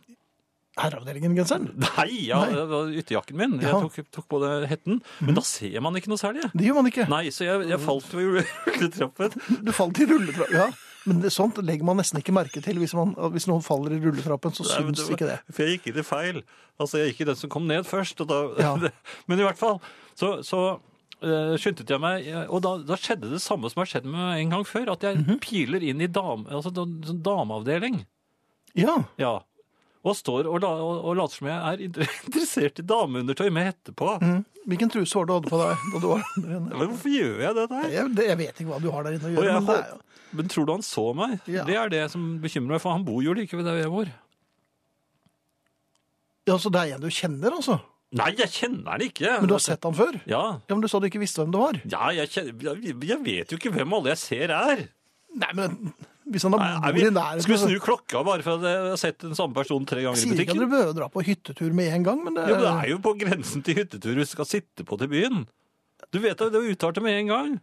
[SPEAKER 1] herreavdelingen-genseren?
[SPEAKER 2] Nei, ja, det var ytterjakken min. Jeg
[SPEAKER 1] Ja. Mhm.
[SPEAKER 2] tok, tok på det hetten. Men da ser man ikke noe særlig.
[SPEAKER 1] Det gjør man ikke.
[SPEAKER 2] Nei, så jeg, jeg falt ved rulletrappen.
[SPEAKER 1] Du falt i rulletrappen. Ja. Men det, sånt legger man nesten ikke merke til. Hvis, man, hvis noen faller i rulletrappen, så
[SPEAKER 2] Nei, men
[SPEAKER 1] syns ikke det.
[SPEAKER 2] var- For jeg gikk i det feil. Altså, jeg gikk i den som kom ned først. Og da,
[SPEAKER 1] Ja.
[SPEAKER 2] men i hvert fall, så, så eh, skyndte jeg meg, eh, og da, da skjedde det samme som har skjedd med en gang før, at jeg
[SPEAKER 1] Mhm.
[SPEAKER 2] piler inn i dam, altså, da- sånn dameavdeling.
[SPEAKER 1] Ja.
[SPEAKER 2] Ja. Og står og, la, og, og later som jeg er inter- interessert i dameundertøy med hette på.
[SPEAKER 1] Mm. Hvilken truse var det du hadde på deg da du var der inne?
[SPEAKER 2] Men hvorfor gjør jeg det der?
[SPEAKER 1] Jeg, det, jeg vet ikke hva du har der inne å
[SPEAKER 2] Og
[SPEAKER 1] gjøre,
[SPEAKER 2] jeg
[SPEAKER 1] men det er jo
[SPEAKER 2] håp- men tror du han så meg?
[SPEAKER 1] Ja.
[SPEAKER 2] Det er det som bekymrer meg, for han bor jo like ved der jeg bor.
[SPEAKER 1] ja, Så det er en du kjenner, altså?
[SPEAKER 2] Nei, jeg kjenner han ikke!
[SPEAKER 1] Men du har sett han før?
[SPEAKER 2] Ja.
[SPEAKER 1] Ja, Men du sa du ikke visste hvem det var?
[SPEAKER 2] Ja, jeg, kjenner, jeg, jeg vet jo ikke hvem alle jeg ser er.
[SPEAKER 1] Nei, men hvis han da
[SPEAKER 2] Nei, er
[SPEAKER 1] bor
[SPEAKER 2] vi,
[SPEAKER 1] i nærheten
[SPEAKER 2] skal vi snu klokka bare for at jeg har sett den samme personen tre ganger i
[SPEAKER 1] Sier ikke at
[SPEAKER 2] butikken?
[SPEAKER 1] dere behøver å dra på hyttetur med en gang, men det,
[SPEAKER 2] Ja, men det er jo på grensen til hyttetur du skal sitte på til byen. Du vet at det er uttalt med en gang.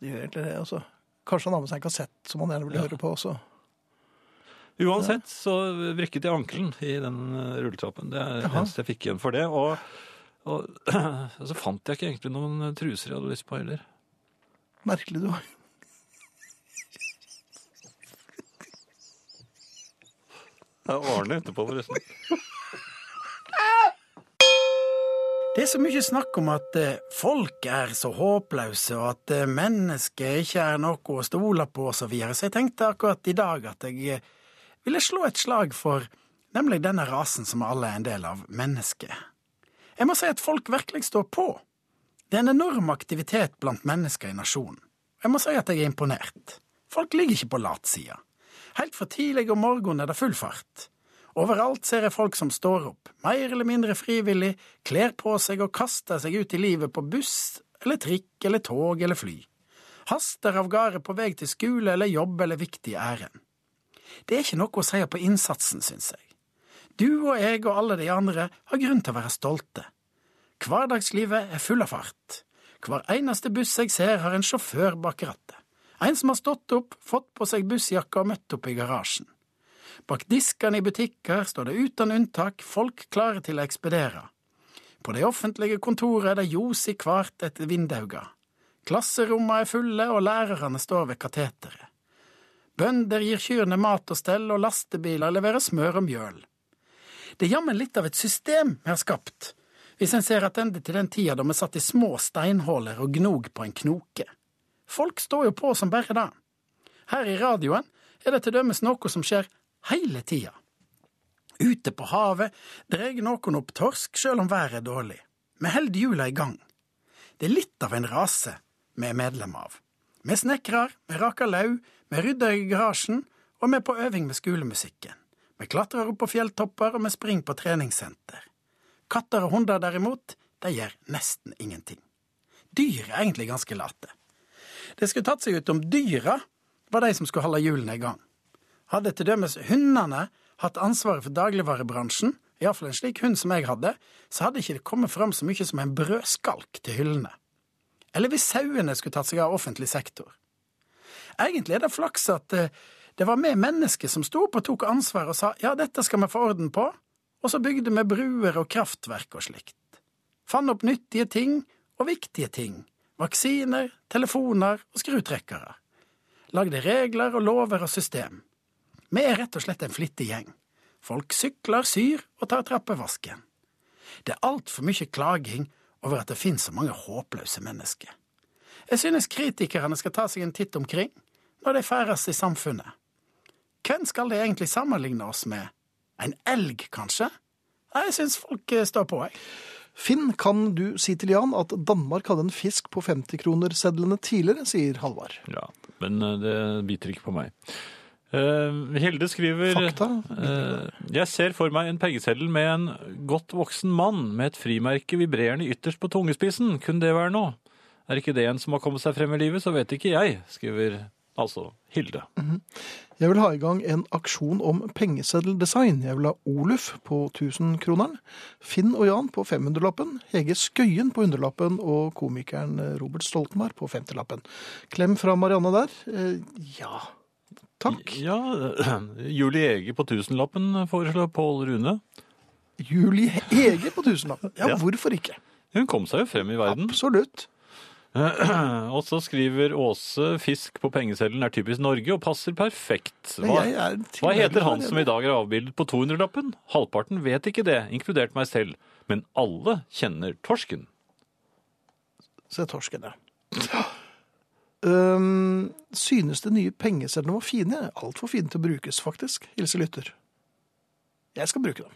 [SPEAKER 1] de gjør egentlig det. altså. Kanskje han har med seg en kassett som han gjerne vil høre på også.
[SPEAKER 2] Uansett så vrikket jeg ankelen i den eh, rulletrappen. Det er det eneste jeg fikk igjen for det. Og, og så fant jeg ikke egentlig noen truser jeg hadde lyst på heller.
[SPEAKER 1] Merkelig du var.
[SPEAKER 2] Det er Arne etterpå, forresten.
[SPEAKER 4] Det er så mye snakk om at eh, folk er så håpløse, og at eh, mennesket ikke er noe å stole på, og så videre. Så jeg tenkte akkurat i dag at jeg eh, ville slå et slag for nemlig denne rasen som alle er en del av, mennesket. Jeg må si at folk virkelig står på. Det er en enorm aktivitet blant mennesker i nasjonen. Jeg må si at jeg er imponert. Folk ligger ikke på latsida. Helt fra tidlig om morgenen er det full fart. Overalt ser jeg folk som står opp, mer eller mindre frivillig, kler på seg og kaster seg ut i livet på buss eller trikk eller tog eller fly. Haster av gårde på vei til skole eller jobb eller viktig ærend. Det er ikke noe å si på innsatsen, syns jeg. Du og jeg og alle de andre har grunn til å være stolte. Hverdagslivet er full av fart. Hver eneste buss jeg ser, har en sjåfør bak rattet. En som har stått opp, fått på seg bussjakka og møtt opp i garasjen. Bak diskene i butikker står det uten unntak folk klare til å ekspedere. På de offentlige kontorene er det ljos i hvert et vindauga. Klasserommene er fulle, og lærerne står ved kateteret. Bønder gir kyrne mat og stell, og lastebiler leverer smør og mjøl. Det er jammen litt av et system vi har skapt, hvis en ser attende til den tida da vi satt i små steinhuller og gnog på en knoke. Folk står jo på som bare det. Her i radioen er det til dømes noe som skjer hele tida. Ute på havet dreg noen opp torsk sjøl om været er dårlig. Vi holder hjula i gang. Det er litt av en rase vi er medlem av. Vi snekrer, vi raker lau, vi rydder i garasjen, og vi er på øving med skolemusikken. Vi klatrer opp på fjelltopper, og vi springer på treningssenter. Katter og hunder derimot, de gjør nesten ingenting. Dyr er egentlig ganske late. Det skulle tatt seg ut om dyra var de som skulle holde hjulene i gang. Hadde til dømes hundene hatt ansvaret for dagligvarebransjen, iallfall en slik hund som jeg hadde, så hadde ikke det kommet fram så mye som en brødskalk til hyllene. Eller hvis sauene skulle tatt seg av offentlig sektor. Egentlig er det flaks at eh, det var vi mennesker som sto opp og tok ansvar og sa ja, dette skal vi få orden på, og så bygde vi bruer og kraftverk og slikt. Fann opp nyttige ting og viktige ting. Vaksiner, telefoner og skrutrekkere. Lagde regler og lover og system. Vi er rett og slett en flittig gjeng. Folk sykler, syr og tar trappevasken. Det er altfor mye klaging over at det finnes så mange håpløse mennesker. Jeg synes kritikerne skal ta seg en titt omkring når de ferdes i samfunnet. Hvem skal de egentlig sammenligne oss med? En elg, kanskje? Nei, Jeg synes folk eh, står på, jeg.
[SPEAKER 1] Finn, kan du si til Jan at Danmark hadde en fisk på 50-kronersedlene tidligere, sier Halvard.
[SPEAKER 2] Ja, men eh, det biter ikke på meg. Eh, Hilde skriver
[SPEAKER 1] Fakta?
[SPEAKER 2] eh, Jeg ser for meg en pengeseddel med en godt voksen mann med et frimerke vibrerende ytterst på tungespissen. Kunne det være noe? Er ikke det en som har kommet seg frem i livet, så vet ikke jeg, skriver altså Hilde.
[SPEAKER 1] Jeg vil ha i gang en aksjon om pengeseddeldesign. Jeg vil ha Oluf på 1000-kroneren, Finn og Jan på 500-lappen, Hege Skøyen på 100-lappen og komikeren Robert Stoltenberg på 50-lappen. Klem fra Marianne der. Eh, Ja, takk.
[SPEAKER 2] Ja, Julie Ege på tusenlappen foreslår Pål Rune.
[SPEAKER 1] Julie Hege på tusenlapp. Ja,
[SPEAKER 2] Ja.
[SPEAKER 1] hvorfor ikke?
[SPEAKER 2] Hun kom seg jo frem i verden. Eh,
[SPEAKER 1] Absolutt.
[SPEAKER 2] Og så skriver Åse fisk på pengeseddelen er typisk Norge og passer perfekt.
[SPEAKER 1] Men
[SPEAKER 2] Hva,
[SPEAKER 1] jeg er til-
[SPEAKER 2] hva heter han som i dag er avbildet på 200-lappen? Halvparten vet ikke det, inkludert meg selv. Men alle kjenner torsken.
[SPEAKER 1] Se torsken, ja. Um, synes de nye pengesedlene var fine? Altfor fine til å brukes, faktisk. Hilse lytter. Jeg skal bruke dem.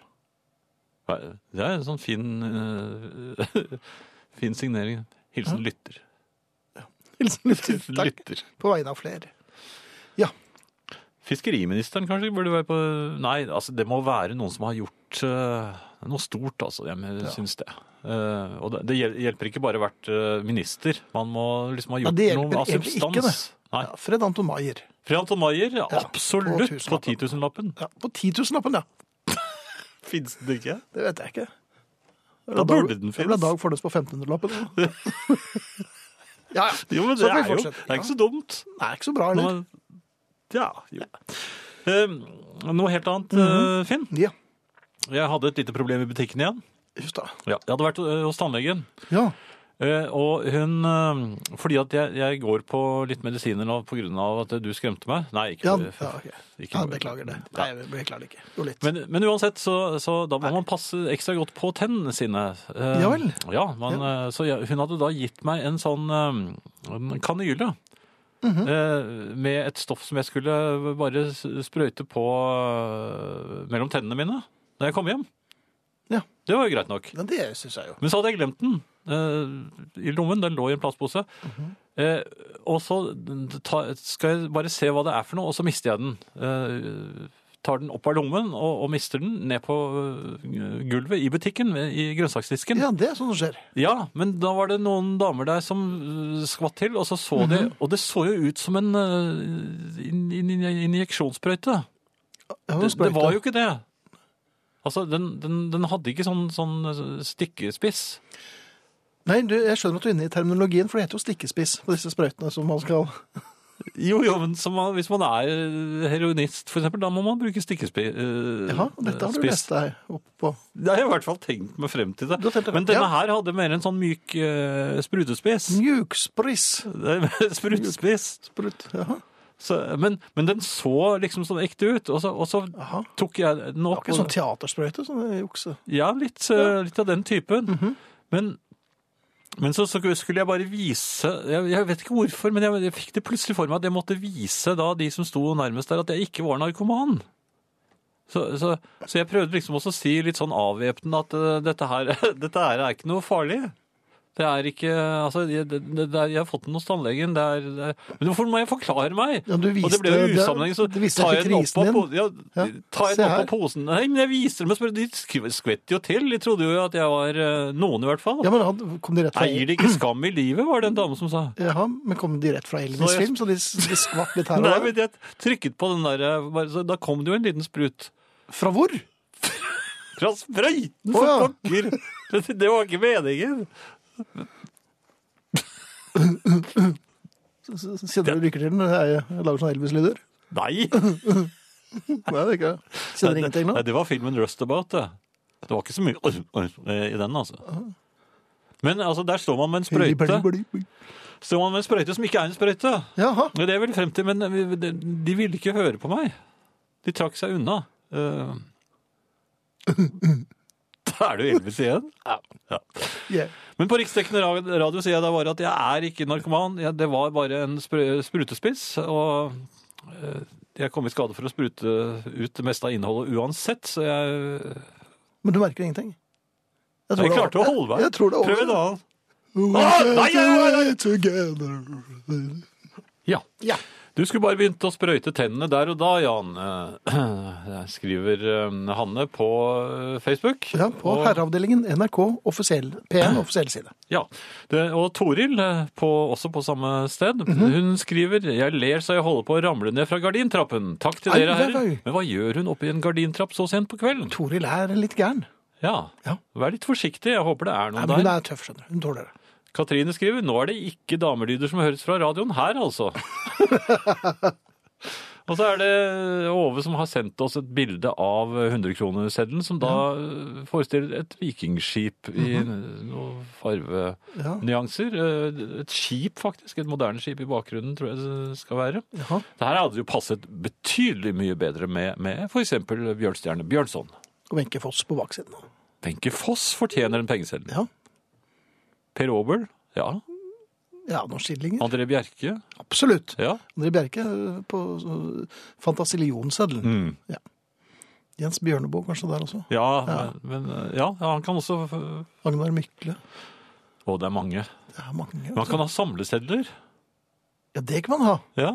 [SPEAKER 2] Hva- Det er en sånn fin, eh, fin signering. Hilsen lytter.
[SPEAKER 1] Hilse lytter. Takk.
[SPEAKER 2] lytter.
[SPEAKER 1] På vegne av flere.
[SPEAKER 2] Fiskeriministeren kanskje burde være på Nei, altså, det må være noen som har gjort eh, noe stort, altså. Jeg men- syns det. Eh, og det, det hjel- hjelper ikke bare å ha vært eh, minister. Man må liksom ha
[SPEAKER 1] Ja,
[SPEAKER 2] gjort
[SPEAKER 1] det hjelper
[SPEAKER 2] noe av
[SPEAKER 1] egentlig
[SPEAKER 2] substans.
[SPEAKER 1] ikke,
[SPEAKER 2] Nei.
[SPEAKER 1] Ja, Fred Anton Maier.
[SPEAKER 2] Fri Anton Maier, ja,
[SPEAKER 1] Ja,
[SPEAKER 2] absolutt
[SPEAKER 1] på
[SPEAKER 2] på 10 000-lappen.
[SPEAKER 1] Ja, på 10 000-lappen, ja.
[SPEAKER 2] Fins den ikke?
[SPEAKER 1] Det vet jeg ikke.
[SPEAKER 2] Da burde den
[SPEAKER 1] Det ble
[SPEAKER 2] finnes.
[SPEAKER 1] Dag Fornes på 1500-lappen. ja, ja.
[SPEAKER 2] Jo, men
[SPEAKER 1] Så
[SPEAKER 2] det
[SPEAKER 1] får vi
[SPEAKER 2] er jo det
[SPEAKER 1] fortsette.
[SPEAKER 2] er ikke så dumt.
[SPEAKER 1] Det er ikke så bra, heller.
[SPEAKER 2] Nå- Ja, jo. Eh, noe helt annet,
[SPEAKER 1] Mhm.
[SPEAKER 2] eh, Finn.
[SPEAKER 1] Ja,
[SPEAKER 2] Jeg hadde et lite problem i butikken igjen.
[SPEAKER 1] just da.
[SPEAKER 2] Ja, jeg hadde vært eh, hos tannlegen.
[SPEAKER 1] Ja,
[SPEAKER 2] Eh, og hun eh, Fordi at jeg, jeg går på litt medisiner nå pga. at du skremte meg. Nei, ikke,
[SPEAKER 1] ja,
[SPEAKER 2] for-
[SPEAKER 1] ja ok.
[SPEAKER 2] ikke
[SPEAKER 1] Ja,
[SPEAKER 2] for-
[SPEAKER 1] beklager det.
[SPEAKER 2] Ja.
[SPEAKER 1] Nei, jeg beklager det ikke. Jo, litt.
[SPEAKER 2] Men, men uansett, så, så da må man passe ekstra godt på tennene sine. Eh,
[SPEAKER 1] Ja vel.
[SPEAKER 2] Ja, man, eh, Så jeg, hun hadde da gitt meg en sånn eh, en kanyle.
[SPEAKER 1] Mhm.
[SPEAKER 2] eh, Med et stoff som jeg skulle bare s- sprøyte på eh, mellom tennene mine da jeg kom hjem.
[SPEAKER 1] Ja.
[SPEAKER 2] Det var jo greit nok.
[SPEAKER 1] Men det syns jeg jo.
[SPEAKER 2] Men så hadde jeg glemt den eh, i lommen. Den lå i en plastpose. Eh, og så ta, skal jeg bare se hva det er for noe, og så mister jeg den. Eh, tar den opp av lommen og, og mister den ned på eh, gulvet i butikken, ved- i grønnsaksdisken. Ja.
[SPEAKER 1] Ja, det er sånn som skjer.
[SPEAKER 2] men da var det noen damer der som eh, skvatt til, og så så de Og det så jo ut som en eh, in, in, in, injeksjonssprøyte.
[SPEAKER 1] Ja,
[SPEAKER 2] Det, det var jo ikke det. Altså, den, den, den hadde ikke sånn, sånn stikkespiss.
[SPEAKER 1] Nei, du, jeg skjønner at du er inne i terminologien, for det heter jo stikkespiss på disse sprøytene som man skal
[SPEAKER 2] Jo, jo, men som man, hvis man er eh, heroinist, for eksempel, da må man bruke stikkespi... eh,
[SPEAKER 1] Ja, dette har du
[SPEAKER 2] spiss.
[SPEAKER 1] lest deg opp på.
[SPEAKER 2] Det har jeg i hvert fall tenkt meg frem til det.
[SPEAKER 1] Du har tenkt deg frem-
[SPEAKER 2] Men denne
[SPEAKER 1] ja.
[SPEAKER 2] her hadde mer en sånn myk eh, sprutespiss.
[SPEAKER 1] Mjukspriss.
[SPEAKER 2] Det er mer Sprutespiss.
[SPEAKER 1] Sprut. Jaha.
[SPEAKER 2] Så, men, men den så liksom sånn ekte ut, og så, og så
[SPEAKER 1] Jaha.
[SPEAKER 2] tok jeg den
[SPEAKER 1] Det var
[SPEAKER 2] opp.
[SPEAKER 1] ikke
[SPEAKER 2] og-
[SPEAKER 1] sånn teatersprøyte, sånn jukse.
[SPEAKER 2] Ja, litt, eh, litt av den typen.
[SPEAKER 1] Mhm.
[SPEAKER 2] Men, men så, så skulle jeg bare vise Jeg, jeg vet ikke hvorfor, men jeg, jeg fikk det plutselig for meg at jeg måtte vise da de som sto nærmest der, at jeg ikke var narkoman. Så, så, så jeg prøvde liksom også å si litt sånn avvæpnende at eh, dette her, dette her er ikke noe farlig. Det er ikke Altså, jeg, det, det, det er- jeg har fått den hos tannlegen. Det er, det er, men hvorfor må jeg forklare meg?
[SPEAKER 1] Ja, du
[SPEAKER 2] og det ble
[SPEAKER 1] viste-
[SPEAKER 2] jo usammenheng, så
[SPEAKER 1] det- det viste
[SPEAKER 2] tar
[SPEAKER 1] ikke
[SPEAKER 2] jeg den opp
[SPEAKER 1] krisen
[SPEAKER 2] av
[SPEAKER 1] din.
[SPEAKER 2] posen. Ja,
[SPEAKER 1] Ja,
[SPEAKER 2] tar jeg
[SPEAKER 1] se
[SPEAKER 2] den opp av
[SPEAKER 1] her.
[SPEAKER 2] posen. Nei, men jeg viser dem og spør. De sk- skvetter jo til. De trodde jo at jeg var eh, noen, i hvert fall.
[SPEAKER 1] Ja, men han- kom de rett fra
[SPEAKER 2] Eier de ikke skam i livet, var det en dame som sa.
[SPEAKER 1] Jaha, men kom de rett fra
[SPEAKER 2] Nå
[SPEAKER 1] Elvis
[SPEAKER 2] er jeg-
[SPEAKER 1] film, så de, de skvatt litt her
[SPEAKER 2] Nei,
[SPEAKER 1] og der?
[SPEAKER 2] men jeg trykket på den der eh, bare, så Da kom det jo en liten sprut.
[SPEAKER 1] Fra hvor?
[SPEAKER 2] Fra sprøyten,
[SPEAKER 1] Å,
[SPEAKER 2] for
[SPEAKER 1] ja.
[SPEAKER 2] pokker! Det, det var ikke meningen.
[SPEAKER 1] Så- så- så Kjenner du lykker til den når jeg lager sånne Elvis-lyder?
[SPEAKER 2] Nei.
[SPEAKER 1] Nei, det er ikke det. Kjenner
[SPEAKER 2] Nei,
[SPEAKER 1] ingenting nå?
[SPEAKER 2] Nei, det var filmen Rustabout, det. Det var ikke så mye oi, oi, i den, altså. Men altså, der står man med en sprøyte Står man med en sprøyte som ikke er en sprøyte.
[SPEAKER 1] Jaha.
[SPEAKER 2] Ja, Det er vel frem til, men vi- de de ville ikke høre på meg. De trakk seg unna. Eh. Da er det jo Elvis igjen. Ja.
[SPEAKER 1] Yeah.
[SPEAKER 2] Men på riksdekkende ra- radio sier jeg da bare at jeg er ikke narkoman. Jeg, det var bare en sprø- sprutespiss, og eh, jeg kom i skade for å sprute ut det meste av innholdet uansett, så jeg,
[SPEAKER 1] Men du merker ingenting? Jeg,
[SPEAKER 2] jeg
[SPEAKER 1] det er
[SPEAKER 2] klarte å
[SPEAKER 1] over.
[SPEAKER 2] holde meg.
[SPEAKER 1] Jeg, jeg tror det er
[SPEAKER 2] Prøv en
[SPEAKER 1] over.
[SPEAKER 2] annen.
[SPEAKER 1] We
[SPEAKER 2] Ah,
[SPEAKER 1] get
[SPEAKER 2] nei, nei, nei, nei.
[SPEAKER 1] together.
[SPEAKER 2] Ja.
[SPEAKER 1] Ja.
[SPEAKER 2] Du skulle bare begynt å sprøyte tennene der og da, Jan. Eh, Skriver eh, Hanne på eh, Facebook.
[SPEAKER 1] Ja, på
[SPEAKER 2] og,
[SPEAKER 1] herreavdelingen NRK offisiell, PN offisiell side.
[SPEAKER 2] ja. Det, og Toril, eh, på, også på samme sted,
[SPEAKER 1] Mhm.
[SPEAKER 2] hun skriver Jeg ler så jeg holder på å ramle ned fra gardintrappen. Takk til
[SPEAKER 1] Ai,
[SPEAKER 2] dere,
[SPEAKER 1] ai,
[SPEAKER 2] herrer.
[SPEAKER 1] ai.
[SPEAKER 2] Men hva gjør hun oppi en gardintrapp så sent på kvelden?
[SPEAKER 1] Toril er litt gæren.
[SPEAKER 2] Ja,
[SPEAKER 1] Ja.
[SPEAKER 2] vær litt forsiktig. Jeg håper det er
[SPEAKER 1] Nei,
[SPEAKER 2] noen
[SPEAKER 1] men hun
[SPEAKER 2] der.
[SPEAKER 1] er tøff, skjønner du. Hun tåler det.
[SPEAKER 2] Katrine skriver Nå er det ikke damelyder som høres fra radioen her, altså. Og så er det Ove som har sendt oss et bilde av 100-kronerseddelen, som da eh, forestiller et vikingskip i noen
[SPEAKER 1] Mhm. Ja.
[SPEAKER 2] farvenyanser. Eh, Et skip, faktisk. Et moderne skip i bakgrunnen, tror jeg det skal være.
[SPEAKER 1] Jaha.
[SPEAKER 2] Det her hadde jo passet betydelig mye bedre med, med f.eks. Bjørnstjerne Bjørnson.
[SPEAKER 1] Og Wenche Foss på baksiden.
[SPEAKER 2] Wenche Foss fortjener en pengeseddel.
[SPEAKER 1] Ja.
[SPEAKER 2] Per Aabel. Ja.
[SPEAKER 1] Ja, noen skillinger.
[SPEAKER 2] André Bjerke.
[SPEAKER 1] Absolutt.
[SPEAKER 2] Ja.
[SPEAKER 1] André Bjerke eh, på eh, Fantasilionseddelen.
[SPEAKER 2] Mm.
[SPEAKER 1] Jens Bjørneboe kanskje der også.
[SPEAKER 2] Ja,
[SPEAKER 1] Ja.
[SPEAKER 2] Men, men, ja, ja, han kan også Å,
[SPEAKER 1] Agnar Mykle.
[SPEAKER 2] det er mange.
[SPEAKER 1] Det er mange. vet
[SPEAKER 2] Man
[SPEAKER 1] du.
[SPEAKER 2] kan ha samlesedler.
[SPEAKER 1] Ja, det kan man ha.
[SPEAKER 2] Ja.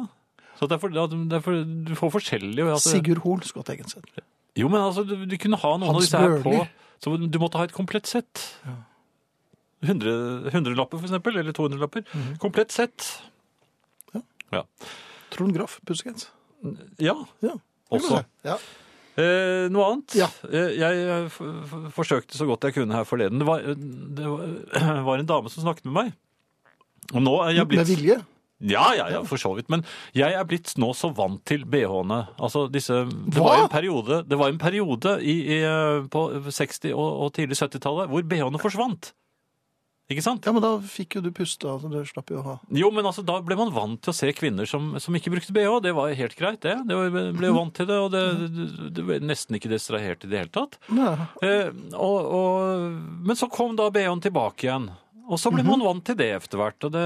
[SPEAKER 2] Så derfor, ja, derfor Du får forskjellige altså,
[SPEAKER 1] Sigurd Hoel skulle hatt egen seddel.
[SPEAKER 2] Jo, men altså, du, du kunne ha noen av
[SPEAKER 1] Hans
[SPEAKER 2] disse her på
[SPEAKER 1] Børli.
[SPEAKER 2] Så du måtte ha et komplett sett. Hundre- Hundrelapper, for eksempel. Eller 200-lapper.
[SPEAKER 1] Mhm.
[SPEAKER 2] Komplett sett.
[SPEAKER 1] Ja.
[SPEAKER 2] Ja.
[SPEAKER 1] Trond Graff, Pussekens.
[SPEAKER 2] ja.
[SPEAKER 1] Ja. det kan
[SPEAKER 2] Også.
[SPEAKER 1] man si. Ja.
[SPEAKER 2] Eh, noe annet?
[SPEAKER 1] Ja.
[SPEAKER 2] Eh, jeg eh, f f forsøkte så godt jeg kunne her forleden. Det var, det var, var en dame som snakket med meg. Og nå er jeg
[SPEAKER 1] Med
[SPEAKER 2] blitt
[SPEAKER 1] vilje.
[SPEAKER 2] Ja, ja, ja, for så vidt. Men jeg er blitt nå så vant til BH-ene. Altså disse Det
[SPEAKER 1] Hva?
[SPEAKER 2] var jo en periode, det var en periode i, i, eh, på 60- og, og tidlig 70-tallet hvor BH-ene forsvant. Ikke sant?
[SPEAKER 1] Ja, men da fikk jo du puste av, så du slapp jo å ha
[SPEAKER 2] Jo, men altså, da ble man vant til å se kvinner som, som ikke brukte BH. Det var helt greit, det. Det var, ble jo vant til det, og det, det, det ble nesten ikke distrahert i det hele tatt.
[SPEAKER 1] Nei.
[SPEAKER 2] Eh, og, og, men så kom da BH-en tilbake igjen. Og så ble man vant til det etter hvert. Og det,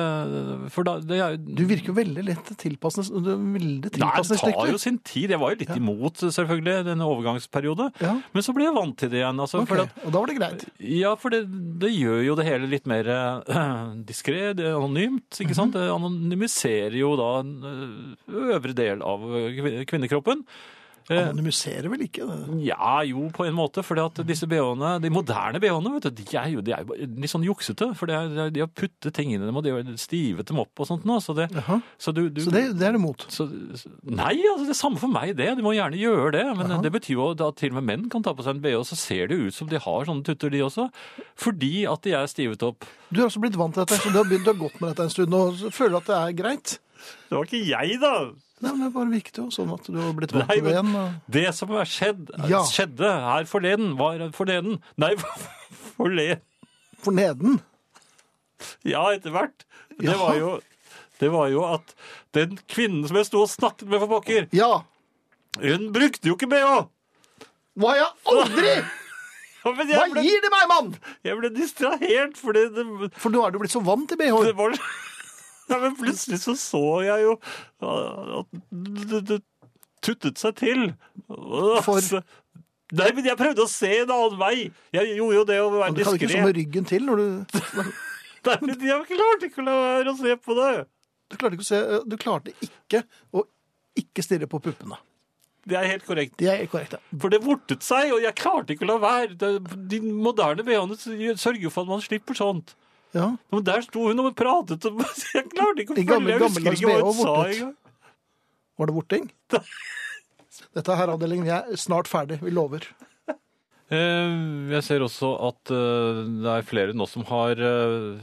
[SPEAKER 2] for da, det er,
[SPEAKER 1] Mhm. Du virker jo veldig lett tilpassende. Du er veldig
[SPEAKER 2] Nei, det
[SPEAKER 1] tilpassende
[SPEAKER 2] tar
[SPEAKER 1] slekter.
[SPEAKER 2] jo sin tid. Jeg var jo litt imot selvfølgelig denne overgangsperiode.
[SPEAKER 1] Ja,
[SPEAKER 2] Men så ble jeg vant til det igjen. Altså,
[SPEAKER 1] ok.
[SPEAKER 2] for at,
[SPEAKER 1] Og da var det greit.
[SPEAKER 2] ja, for det, det gjør jo det hele litt mer eh, diskré, det er anonymt.
[SPEAKER 1] Mhm.
[SPEAKER 2] ikke sant? Det anonymiserer jo da en, eh, øvre del av kvin- kvinnekroppen. Eh,
[SPEAKER 1] Anonymiserer vel ikke? det?
[SPEAKER 2] Ja, jo, på en måte. For disse BH-ene, de moderne BH-ene, vet du, de er jo, de er jo bare litt sånn juksete. For det er, de har puttet ting inn i dem, og de har stivet dem opp og sånt nå. Så det,
[SPEAKER 1] Jaha.
[SPEAKER 2] så du, du
[SPEAKER 1] Så det, det er du mot.
[SPEAKER 2] så, så- nei, altså, det er samme for meg det. De må gjerne gjøre det. Men
[SPEAKER 1] Jaha.
[SPEAKER 2] det betyr jo at til og med menn kan ta på seg en BH, og så ser det jo ut som de har sånne tutter, de også. Fordi at de er stivet opp.
[SPEAKER 1] Du har altså blitt vant til dette, så du har, begynt, du har gått med dette en stund og føler at det er greit.
[SPEAKER 2] Det var ikke jeg, da!
[SPEAKER 1] Nei, men Det bare virket jo sånn at du har blitt vant
[SPEAKER 2] Nei,
[SPEAKER 1] til det
[SPEAKER 2] men-
[SPEAKER 1] igjen. og-
[SPEAKER 2] Det som er skjedd,
[SPEAKER 1] Ja.
[SPEAKER 2] skjedde her forleden, var forleden Nei, forleden
[SPEAKER 1] For neden.
[SPEAKER 2] Ja, etter hvert. Det
[SPEAKER 1] Jaha.
[SPEAKER 2] var, jo, det var jo at den kvinnen som jeg sto og snakket med for pokker,
[SPEAKER 1] Ja.
[SPEAKER 2] hun brukte jo ikke bh!
[SPEAKER 1] Hva jeg aldri!
[SPEAKER 2] Men
[SPEAKER 1] Hva
[SPEAKER 2] jeg ble,
[SPEAKER 1] gir det meg, mann?!
[SPEAKER 2] jeg ble distrahert, fordi det,
[SPEAKER 1] For nå er du blitt så vant til
[SPEAKER 2] det
[SPEAKER 1] bh.
[SPEAKER 2] var Nei, men plutselig så så jeg jo ah, at det, det tuttet seg til.
[SPEAKER 1] For-
[SPEAKER 2] Nei, men jeg prøvde å se en annen vei. Jeg gjorde jo det å være
[SPEAKER 1] Men Du kan ikke
[SPEAKER 2] diskré.
[SPEAKER 1] stå med ryggen til når du
[SPEAKER 2] Nei, men Jeg klarte ikke å la være å se på det.
[SPEAKER 1] Du klarte ikke å se Du klarte ikke å ikke stirre på puppene.
[SPEAKER 2] Det er helt korrekt.
[SPEAKER 1] De er korrekte.
[SPEAKER 2] For det vortet seg, og jeg klarte ikke å la være. Det- De moderne BH-ene sørger for at man slipper sånt.
[SPEAKER 1] Ja.
[SPEAKER 2] Men der sto hun og pratet, og jeg klarte ikke å
[SPEAKER 1] I gamle-
[SPEAKER 2] følge Jeg husker
[SPEAKER 1] gammeldags
[SPEAKER 2] ikke hva hun
[SPEAKER 1] BH
[SPEAKER 2] sa
[SPEAKER 1] vortet.
[SPEAKER 2] engang.
[SPEAKER 1] Var det vorting? Dette er herreavdelingen. Vi er snart ferdig. Vi lover.
[SPEAKER 2] Eh, Jeg ser også at eh, det er flere nå som har eh,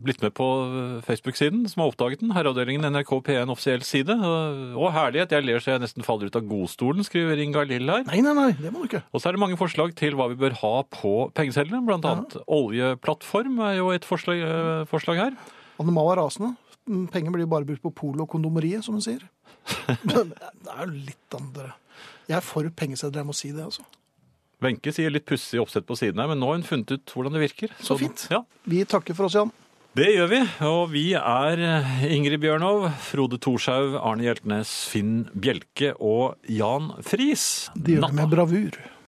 [SPEAKER 2] blitt med på eh, Facebook-siden, som har oppdaget den. Herreavdelingen NRK P1 offisiell side. Eh, Å, herlighet, jeg ler så jeg nesten faller ut av godstolen, skriver Inga Lill her.
[SPEAKER 1] Nei, nei, nei. Det må du ikke.
[SPEAKER 2] Og så er det mange forslag til hva vi bør ha på pengesedlene. Blant annet oljeplattform er jo et forslag, eh, forslag her.
[SPEAKER 1] Anne Ma var rasende. Mm, Penger blir bare brukt på polo og kondomeriet, som hun sier. Men det er jo litt andre Jeg er for pengesedler, jeg må si det, altså.
[SPEAKER 2] Wenche sier litt pussig oppsett på siden her, men nå har hun funnet ut hvordan det virker.
[SPEAKER 1] Så fint.
[SPEAKER 2] Ja,
[SPEAKER 1] Vi takker for oss, Jan.
[SPEAKER 2] Det gjør vi, og vi er eh, Ingrid Bjørnov, Frode Thorshaug, Arne Hjeltnes, Finn Bjelke og Jan Friis.
[SPEAKER 1] Det gjør vi med bravur.